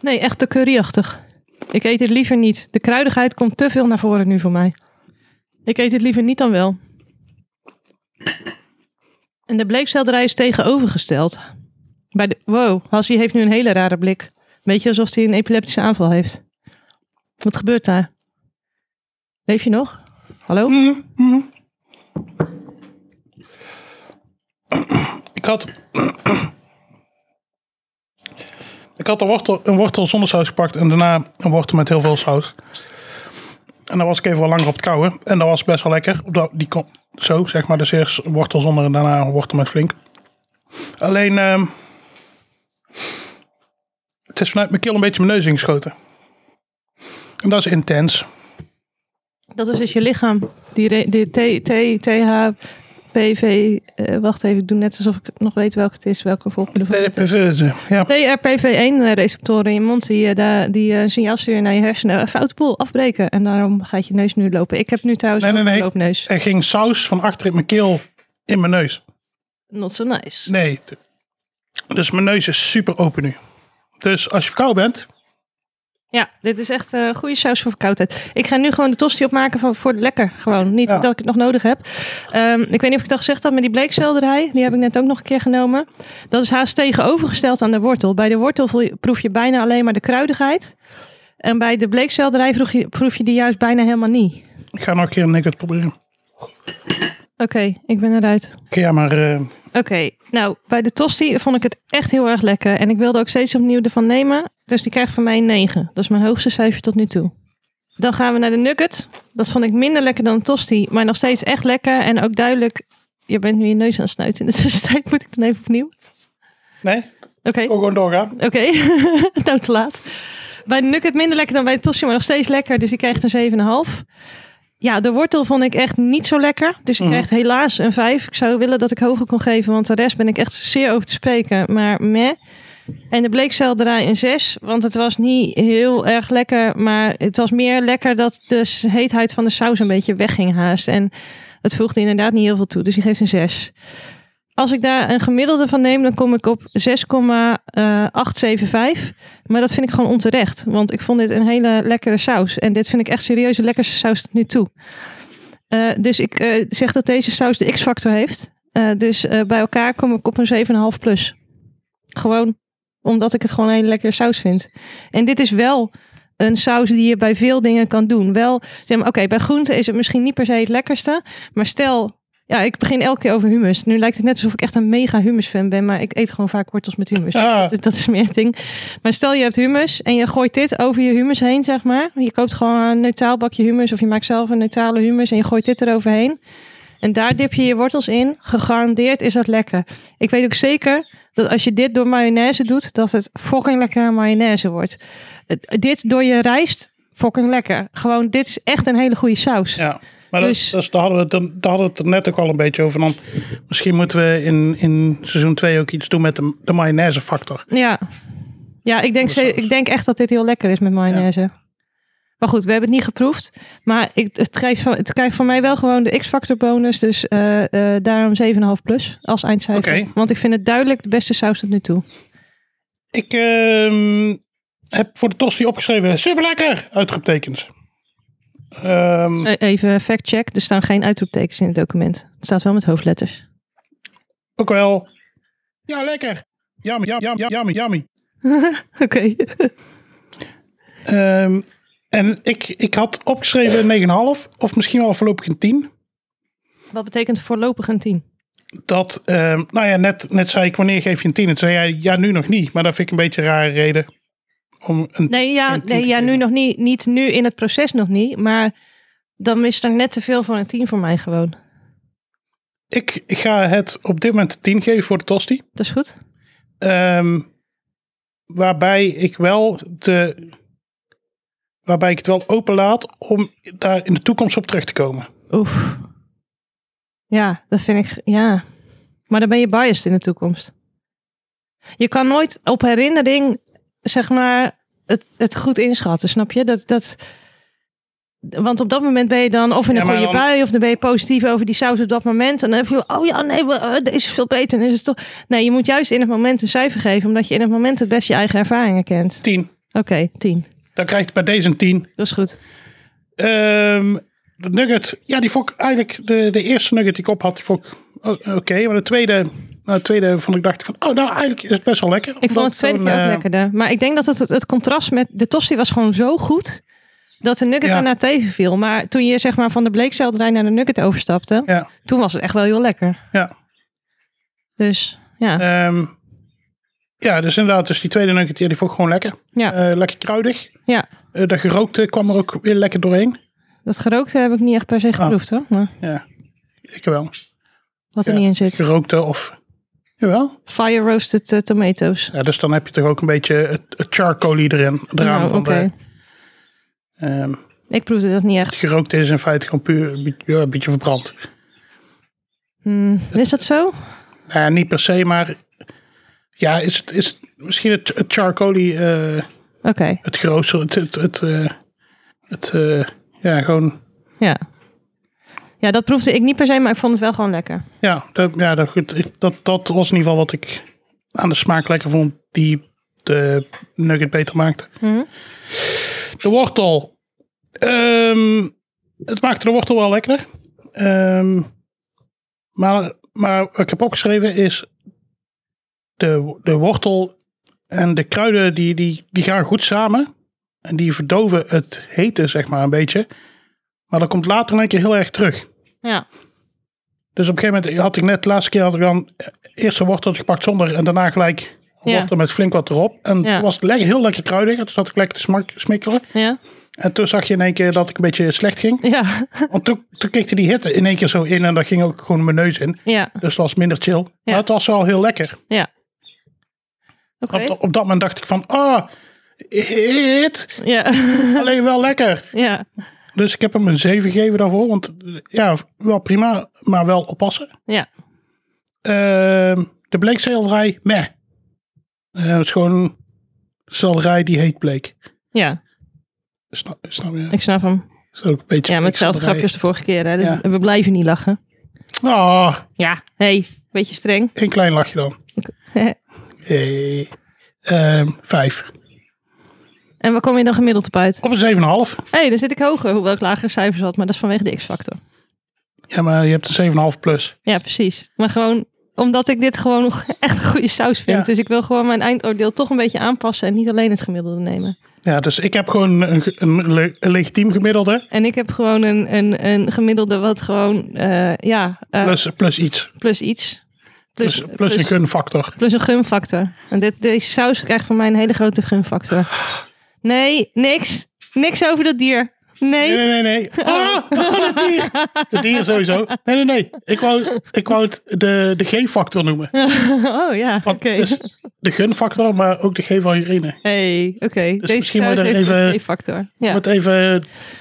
S2: Nee, echt te curryachtig. Ik eet dit liever niet. De kruidigheid komt te veel naar voren nu voor mij. Ik eet dit liever niet dan wel. En de bleekselderij is tegenovergesteld. Bij de, wow, Hassie heeft nu een hele rare blik. Beetje alsof hij een epileptische aanval heeft. Wat gebeurt daar? Leef je nog? Hallo?
S1: Ik had... <clears throat> ik had een wortel, een wortel zonder saus gepakt en daarna een wortel met heel veel saus. En daar was ik even wel langer op het kouwen. En dat was best wel lekker. Op dat- Die kon, zo, zeg maar. Dus eerst een wortel zonder en daarna een wortel met flink. Alleen... ehm, het is vanuit mijn keel een beetje mijn neus ingeschoten. En dat is intens.
S2: Dat is dus je lichaam. Die, re- die T, T, TH, PV. eh, wacht even, ik doe net alsof ik nog weet welke het is, welke volgorde. van het is.
S1: Eh, Ja.
S2: TRPV1-receptoren eh, in je mond, die, eh, daar, die eh, een signaal sturen naar je hersenen. Een foute boel, afbreken. En daarom gaat je neus nu lopen. Ik heb nu trouwens
S1: Nee,
S2: ook
S1: nee,
S2: een
S1: nee.
S2: loopneus.
S1: Er ging saus van achter in mijn keel in mijn neus.
S2: Not so nice.
S1: Nee. Dus mijn neus is super open nu. Dus als je verkouden bent,
S2: Ja, dit is echt eh goede saus voor verkoudheid. Ik ga nu gewoon de tosti opmaken van, voor het lekker. Gewoon, niet
S1: Ja.
S2: dat ik het nog nodig heb. Ehm, ik weet niet of ik het al gezegd had, maar die bleekselderij, die heb ik net ook nog een keer genomen. Dat is haast tegenovergesteld aan de wortel. Bij de wortel voel je- proef je bijna alleen maar de kruidigheid. En bij de bleekselderij vroeg je, proef je die juist bijna helemaal niet. Oké,
S1: ik ga nog een keer een nugget proberen.
S2: ik ben eruit.
S1: Oké, Ja, maar eh,
S2: Oké, nou, bij de tosti vond ik het echt heel erg lekker. En ik wilde ook steeds opnieuw ervan nemen. Dus die krijgt van mij een 9. Dat is mijn hoogste cijfer tot nu toe. Dan gaan we naar de nugget. Dat vond ik minder lekker dan de tosti, maar nog steeds echt lekker. En ook duidelijk, je bent nu je neus aan het snuiten. In de tussentijd <laughs> moet ik dan even opnieuw.
S1: nee,
S2: Oké.
S1: ook gewoon doorgaan.
S2: Oké, <laughs> nou te laat. Bij de Nugget minder lekker dan bij de Tossie, maar nog steeds lekker. Dus die krijgt een 7,5. Ja, de wortel vond ik echt niet zo lekker. Dus die
S1: Mhm.
S2: krijgt helaas een 5. Ik zou willen dat ik hoger kon geven, want de rest ben ik echt zeer over te spreken. Maar meh. En de bleekselderij een 6, want het was niet heel erg lekker. Maar het was meer lekker dat de s- heetheid van de saus een beetje wegging haast. En het voegde inderdaad niet heel veel toe. Dus die geeft een 6 als ik daar een gemiddelde van neem, dan kom ik op eh, 6,875. Maar dat vind ik gewoon onterecht. Want ik vond dit een hele lekkere saus. En dit vind ik echt serieus de lekkerste saus tot nu toe. Eh, dus ik eh, zeg dat deze saus de X-factor heeft. Eh, dus eh, bij elkaar kom ik op een 7,5 plus. Gewoon Omdat ik het gewoon een hele lekkere saus vind. En dit is wel een saus die je bij veel dingen kan doen. Wel, zeg maar, oké, bij groenten is het misschien niet per se het lekkerste. Maar stel, ja, ik begin elke keer over hummus. Nu lijkt het net alsof ik echt een mega hummus fan ben. Maar ik eet gewoon vaak wortels met hummus.
S1: Ah.
S2: Dus Dat, dat is meer het ding. Maar stel je hebt hummus en je gooit dit over je hummus heen, zeg maar. Je koopt gewoon een neutraal bakje hummus of je maakt zelf een neutrale hummus en je gooit dit eroverheen. En daar dip je je wortels in. Gegarandeerd is dat lekker. Ik weet ook zeker dat als je dit door mayonaise doet, dat het fucking lekkere mayonaise wordt. Het- Dit door je rijst, fucking lekker. Gewoon, dit is echt een hele goede saus.
S1: Ja. Maar dat-
S2: Dus-
S1: dat, is- daar, hadden we, het dan- daar hadden we het er net ook al een beetje over. Dan, misschien moeten we in, in seizoen 2 ook iets doen met de, de mayonaise factor.
S2: Ja, ja ik, denk,
S1: Goeie
S2: ze-
S1: saus.
S2: ik denk echt dat dit heel lekker is met mayonaise. Maar goed, we hebben het niet geproefd. Maar ik, het, krijgt van, het krijgt van mij wel gewoon de X-Factor bonus. Dus eh, eh, daarom 7,5 plus als eindcijfer.
S1: Oké.
S2: Want ik vind het duidelijk de beste saus tot nu toe.
S1: Ik ehm, heb voor de tosti opgeschreven, super lekker, uitgetekend. Ehm,
S2: Eh, Even fact-check. Er staan geen uitroeptekens in het document. Het staat wel met hoofdletters.
S1: Ook wel. Ja, lekker. Yummy, yum, yum, yum, yummy, yummy.
S2: Oké.
S1: Ehm, en ik, ik had opgeschreven een 9,5 of misschien wel voorlopig een 10.
S2: Wat betekent voorlopig een 10?
S1: Dat, ehm, nou ja, net, net zei ik wanneer geef je een 10? En toen zei jij, ja, nu nog niet. Maar dat vind ik een beetje een rare reden. Om een,
S2: Nee, ja,
S1: Geen 10
S2: nee,
S1: te
S2: ja nu
S1: geven.
S2: nog niet. Niet nu in het proces nog niet. Maar dan is er net te veel voor een 10 voor mij gewoon.
S1: Ik ga het op dit moment een 10 geven voor de tosti.
S2: Dat is goed.
S1: Ehm, waarbij ik wel de... Waarbij ik het wel open laat om daar in de toekomst op terug te komen.
S2: Oef. Ja, dat vind ik. Ja. Maar dan ben je biased in de toekomst. Je kan nooit op herinnering, zeg maar, het, het goed inschatten, snap je? Dat, dat, want op dat moment ben je dan of in een
S1: Ja, maar
S2: goede
S1: dan-
S2: bui, of dan ben je positief over die saus op dat moment. En dan heb je, oh ja, nee, we- eh, deze is veel beter. En is het toch... Nee, je moet juist in het moment een cijfer geven, omdat je in het moment het best je eigen ervaringen kent.
S1: 10.
S2: Oké, tien.
S1: Dan krijgt bij deze een 10.
S2: Dat is goed.
S1: Ehm, de nugget, ja, die vond ik eigenlijk de, de eerste nugget die ik op had, die vond ik o- oké. maar de tweede, nou, de tweede vond ik, dacht ik van, oh, nou, eigenlijk is het best wel lekker.
S2: Ik vond het tweede keer
S1: eh,
S2: ook lekkerder. Maar ik denk dat het, het, het contrast met de tosti was gewoon zo goed. Dat de nugget
S1: Ja.
S2: erna tegenviel. Maar toen je zeg maar van de bleekselderij naar de nugget overstapte.
S1: Ja,
S2: Toen was het echt wel heel lekker.
S1: ja.
S2: Dus ja.
S1: Ehm, ja, dus inderdaad, dus die tweede nugget, ja, die vond ik gewoon lekker.
S2: Ja.
S1: Eh, lekker kruidig.
S2: ja.
S1: Eh dat gerookte kwam er ook weer lekker doorheen.
S2: Dat gerookte heb ik niet echt
S1: Ah.
S2: per se geproefd hoor. Maar
S1: Ja, ik wel.
S2: wat er
S1: Ja.
S2: niet in zit.
S1: Gerookte of, jawel.
S2: Fire roasted eh, tomatoes.
S1: Ja, dus dan heb je toch ook een beetje het, het charcoalie erin, eraan
S2: Nou,
S1: van
S2: oké.
S1: de... ehm,
S2: Ik proefde dat niet echt.
S1: gerookt is in feite gewoon puur een beetje- ja, een beetje verbrand.
S2: Hmm, Is dat zo?
S1: Nou ja, niet per se, maar ja, is het, is het misschien het, het charcoalie eh,
S2: Oké.
S1: het grootste, het, het, het, eh, het eh, ja, gewoon,
S2: Ja. Ja, dat proefde ik niet per se. Maar ik vond het wel gewoon lekker.
S1: ja, dat, ja, dat, goed, ik- dat, dat was in ieder geval wat ik aan de smaak lekker vond die de nugget beter maakte.
S2: Mhm.
S1: De wortel. Ehm, het maakte de wortel wel lekkerder. Ehm, maar, maar wat ik heb opgeschreven is... De, de wortel en de kruiden die, die, die gaan goed samen. En die verdoven het hete, zeg maar, een beetje. Maar dat komt later in een keer heel erg terug.
S2: Ja.
S1: Dus op een gegeven moment had ik net, de laatste keer had ik dan eh, eerst een worteltje gepakt zonder en daarna gelijk een
S2: Ja.
S1: wortel met flink wat erop. En
S2: Ja.
S1: toen was het lekker, heel lekker kruidig. En toen zat ik lekker te smak- smikkelen.
S2: Ja.
S1: En toen zag je in één keer dat ik een beetje slecht
S2: <laughs>
S1: ging.
S2: Ja.
S1: Want toen, toen kikte die hitte in één keer zo in en dat ging ook gewoon mijn neus in.
S2: Ja.
S1: Dus dat was minder chill. Maar het was wel heel lekker.
S2: Ja. Oké.
S1: Op, op dat moment dacht ik van, ah, hit,
S2: Ja. <laughs>
S1: alleen wel lekker.
S2: ja.
S1: Dus ik heb hem een 7 gegeven daarvoor. Want eh, ja, wel prima, maar wel oppassen.
S2: Ja.
S1: Ehm, de bleekselderij, meh. Eh, het is gewoon een selderij die heet bleek.
S2: Ja.
S1: Snap, snap je?
S2: Ik snap hem.
S1: Is ook een beetje
S2: Ja, met hetzelfde
S1: bleekselderij.
S2: grapje als de vorige keer. Hè? Dus
S1: Ja.
S2: We blijven niet lachen.
S1: Ah,
S2: Ja, hey, beetje streng.
S1: Een klein lachje dan. <laughs> Eh, ehm, vijf.
S2: en waar kom je dan gemiddeld op uit?
S1: Op een 7,5.
S2: Hé, hey, dan zit ik hoger, hoewel ik lagere cijfers had. Maar dat is vanwege de X-factor.
S1: Ja, maar je hebt een 7,5 plus.
S2: Ja, precies. Maar gewoon Omdat ik dit gewoon nog <laughs> echt een goede saus vind.
S1: Ja.
S2: Dus ik wil gewoon mijn eindoordeel toch een beetje aanpassen. En niet alleen het gemiddelde nemen.
S1: Ja, dus ik heb gewoon een, ge- een, le- een legitiem gemiddelde.
S2: En ik heb gewoon een, een, een gemiddelde wat gewoon, eh, ja, eh, plus,
S1: Plus, plus iets.
S2: iets.
S1: Plus, plus, een gunfactor.
S2: plus een gunfactor. En dit, deze saus krijgt van mij een hele grote gunfactor. Nee, niks. Niks over dat dier. Nee.
S1: Nee, nee, nee. nee. Ah, <laughs> oh, dat dier. Dat dier sowieso. Nee, nee, nee. Ik wou, ik wou het de, de G-factor noemen.
S2: Oh ja, oké.
S1: Want het is Dus de gunfactor, maar ook de G van urine.
S2: Hey, oké. Deze
S1: dus misschien moet
S2: saus
S1: je er
S2: heeft
S1: even-
S2: een G-factor. Ja,
S1: Ik moet even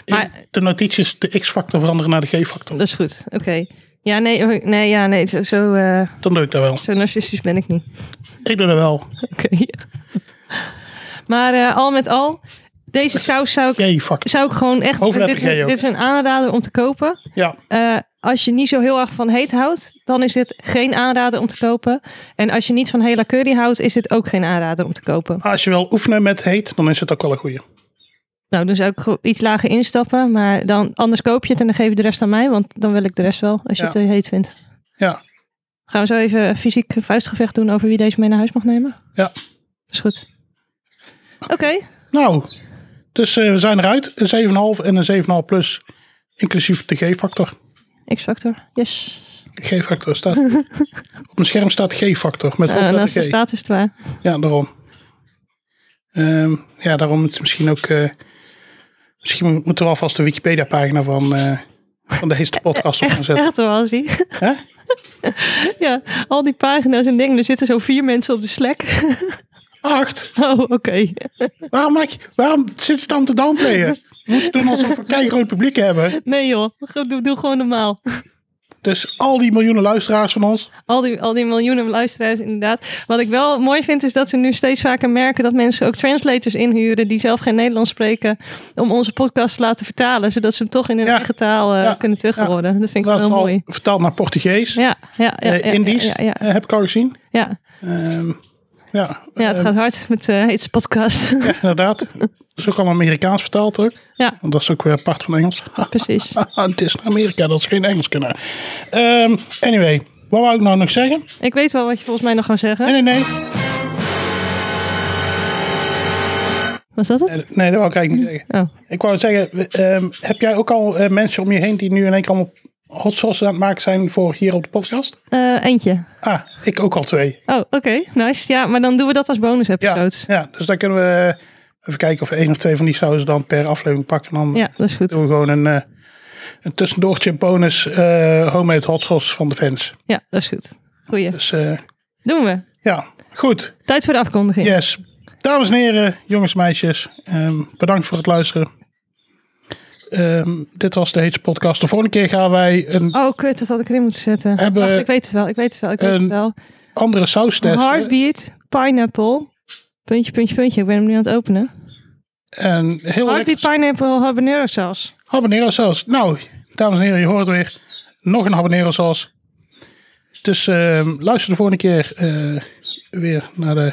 S1: in
S2: Maar-
S1: de notities de X-factor veranderen naar de G-factor.
S2: dat is goed. Oké. Ja, nee, oh, nee, ja, nee zo, zo, eh,
S1: Dan doe ik dat wel.
S2: zo narcistisch ben ik niet. <laughs>
S1: Ik doe dat wel.
S2: Oké. Maar eh, al met al, deze saus zou ik,
S1: G-factor.
S2: zou ik gewoon echt...
S1: Hoofdletter
S2: Dit is, een-
S1: G ook.
S2: dit is een aanrader om te kopen.
S1: Ja.
S2: Eh, als je niet zo heel erg van heet houdt, dan is dit geen aanrader om te kopen. En als je niet van hela curry houdt, is dit ook geen aanrader om te kopen.
S1: Als je wil oefenen met heet, dan is het ook wel een goeie.
S2: Nou, dus ook iets lager instappen. Maar dan, anders koop je het en dan geef je de rest aan mij. Want dan wil ik de rest wel, als je
S1: Ja.
S2: het eh, heet vindt.
S1: Ja.
S2: Gaan we zo even een fysiek vuistgevecht doen over wie deze mee naar huis mag nemen?
S1: Ja.
S2: Is goed. Oké.
S1: Nou, dus eh, we zijn eruit. Een 7,5 en een 7,5 plus. Inclusief de G-factor.
S2: X-factor. Yes.
S1: G-factor
S2: <laughs>
S1: staat. op mijn scherm staat G-factor met
S2: Nou, naast de
S1: hoofdletter G.
S2: staat is het waar.
S1: Ja, daarom. Ehm, ja, daarom het misschien ook. eh, misschien mo- moeten we alvast de Wikipedia-pagina van, eh, van de heeste
S2: <laughs>
S1: podcast op gaan zetten.
S2: Echt wel, zie. <laughs>
S1: Hè?
S2: Ja, al die pagina's en dingen. Er zitten zo vier mensen op de Slack. <laughs>
S1: Acht!
S2: Oh, oké.
S1: Waarom, maak je, waarom zit het dan te downplayen? We moeten doen alsof we een groot publiek hebben.
S2: Nee joh, Go- doe, doe gewoon normaal.
S1: Dus al die miljoenen luisteraars van ons.
S2: Al die, al die miljoenen luisteraars inderdaad. Wat ik wel mooi vind is dat ze nu steeds vaker merken... dat mensen ook translators inhuren die zelf geen Nederlands spreken... om onze podcast te laten vertalen. Zodat ze hem toch in hun
S1: Ja.
S2: eigen taal eh,
S1: Ja.
S2: kunnen terughoren. Dat vind ik
S1: Dat is
S2: wel
S1: al
S2: mooi.
S1: vertaald naar Portugees.
S2: Ja, ja, ja,
S1: eh,
S2: ja,
S1: Indisch
S2: Ja, ja, ja,
S1: eh, heb ik al gezien.
S2: ja.
S1: Ehm, ja,
S2: Ja, het
S1: eh,
S2: gaat hard met eh deze podcast. <laughs>
S1: ja, inderdaad. Dat is ook allemaal Amerikaans vertaald ook.
S2: ja,
S1: Want dat is ook weer apart van Engels.
S2: precies.
S1: Ah, het is naar Amerika dat ze geen Engels kunnen. Ehm, anyway, wat wou ik nou nog zeggen?
S2: Ik weet wel wat je volgens mij nog gaat zeggen.
S1: Nee, nee, nee.
S2: Was dat het?
S1: Nee, dat wou ik eigenlijk niet zeggen.
S2: Oh.
S1: Ik wou zeggen, we- ehm, heb jij ook al eh, mensen om je heen die nu in één keer allemaal hot sauce aan het maken zijn voor hier op de podcast?
S2: Eh, eentje.
S1: Ah, ik ook al twee.
S2: Oh, oké. Nice. Ja, maar dan doen we dat als bonus
S1: Ja,
S2: episode. Ja,
S1: ja dus dan kunnen we eh, even kijken of we één of twee van die sauzen dan per aflevering pakken. En dan
S2: dat is goed.
S1: doen we gewoon een, eh, een tussendoortje bonus eh homemade hot sauce van de fans.
S2: Ja, dat is goed. Goeie.
S1: Dus eh,
S2: Doen we.
S1: ja, goed.
S2: Tijd voor de afkondiging.
S1: Yes. Dames en heren, jongens en meisjes, ehm, bedankt voor het luisteren. Ehm, dit was de Heetse Podcast. De volgende keer gaan wij een
S2: Oh, kut, dat had ik erin moeten zetten.
S1: Hebben-
S2: Wacht, ik weet het wel, ik weet het wel, ik weet
S1: Een
S2: het wel.
S1: andere saus testen.
S2: Heartbeat, pineapple, puntje, puntje, puntje. Ik ben hem nu aan het
S1: Oh,
S2: openen.
S1: En heel
S2: Heartbeat,
S1: lekker
S2: pineapple, habanero saus.
S1: habanero saus. Nou, dames en heren, je hoort het weer. Nog een habanero saus. Dus ehm, luister de volgende keer eh, weer naar de,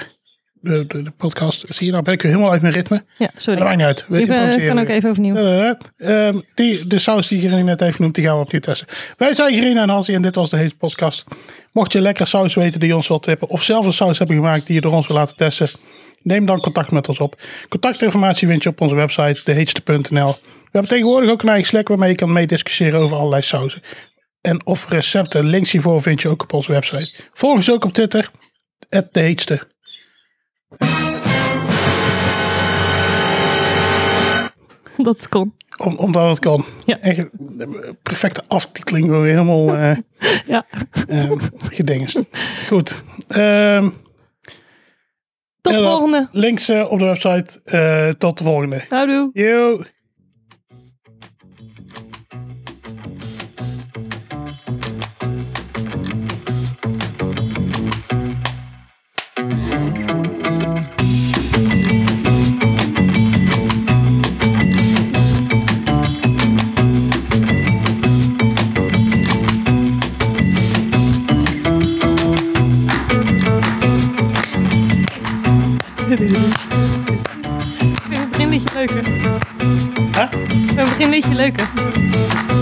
S1: de, de, de podcast. Zie je, nou ben ik weer helemaal uit mijn ritme.
S2: Ja,
S1: Maar dat
S2: sorry.
S1: maakt niet uit. We
S2: Ik ben,
S1: improviseren
S2: kan ook
S1: weer.
S2: even opnieuw.
S1: Eh, eh, ehm, die, de saus die Gerine net heeft genoemd, die gaan we opnieuw testen. Wij zijn Gerine en Hansie en dit was de Heet Podcast. Mocht je lekker saus weten die je ons wilt tippen, of zelf een saus hebben gemaakt die je door ons wil laten testen, neem dan contact met ons op. Contactinformatie vind je op onze website, deheetste.nl. We hebben tegenwoordig ook een eigen Slack waarmee je kan meediscussiëren over allerlei sauzen. En of recepten. Links hiervoor vind je ook op onze website. Volg ons ook op Twitter, het deheetste.
S2: <laughs> Dat het kon.
S1: Om, omdat het kan.
S2: Ja.
S1: Echt, eh, perfecte aftiteling, gewoon helemaal... eh,
S2: Ja,
S1: Ehm gedingest. Goed. Ehm,
S2: tot de
S1: inderdaad,
S2: volgende.
S1: Links eh, op de website. Eh, tot de volgende.
S2: Houdoe.
S1: Yo.
S2: Ik vind het beginliedje leuker.
S1: Huh?
S2: Ik vind het beginliedje leuker.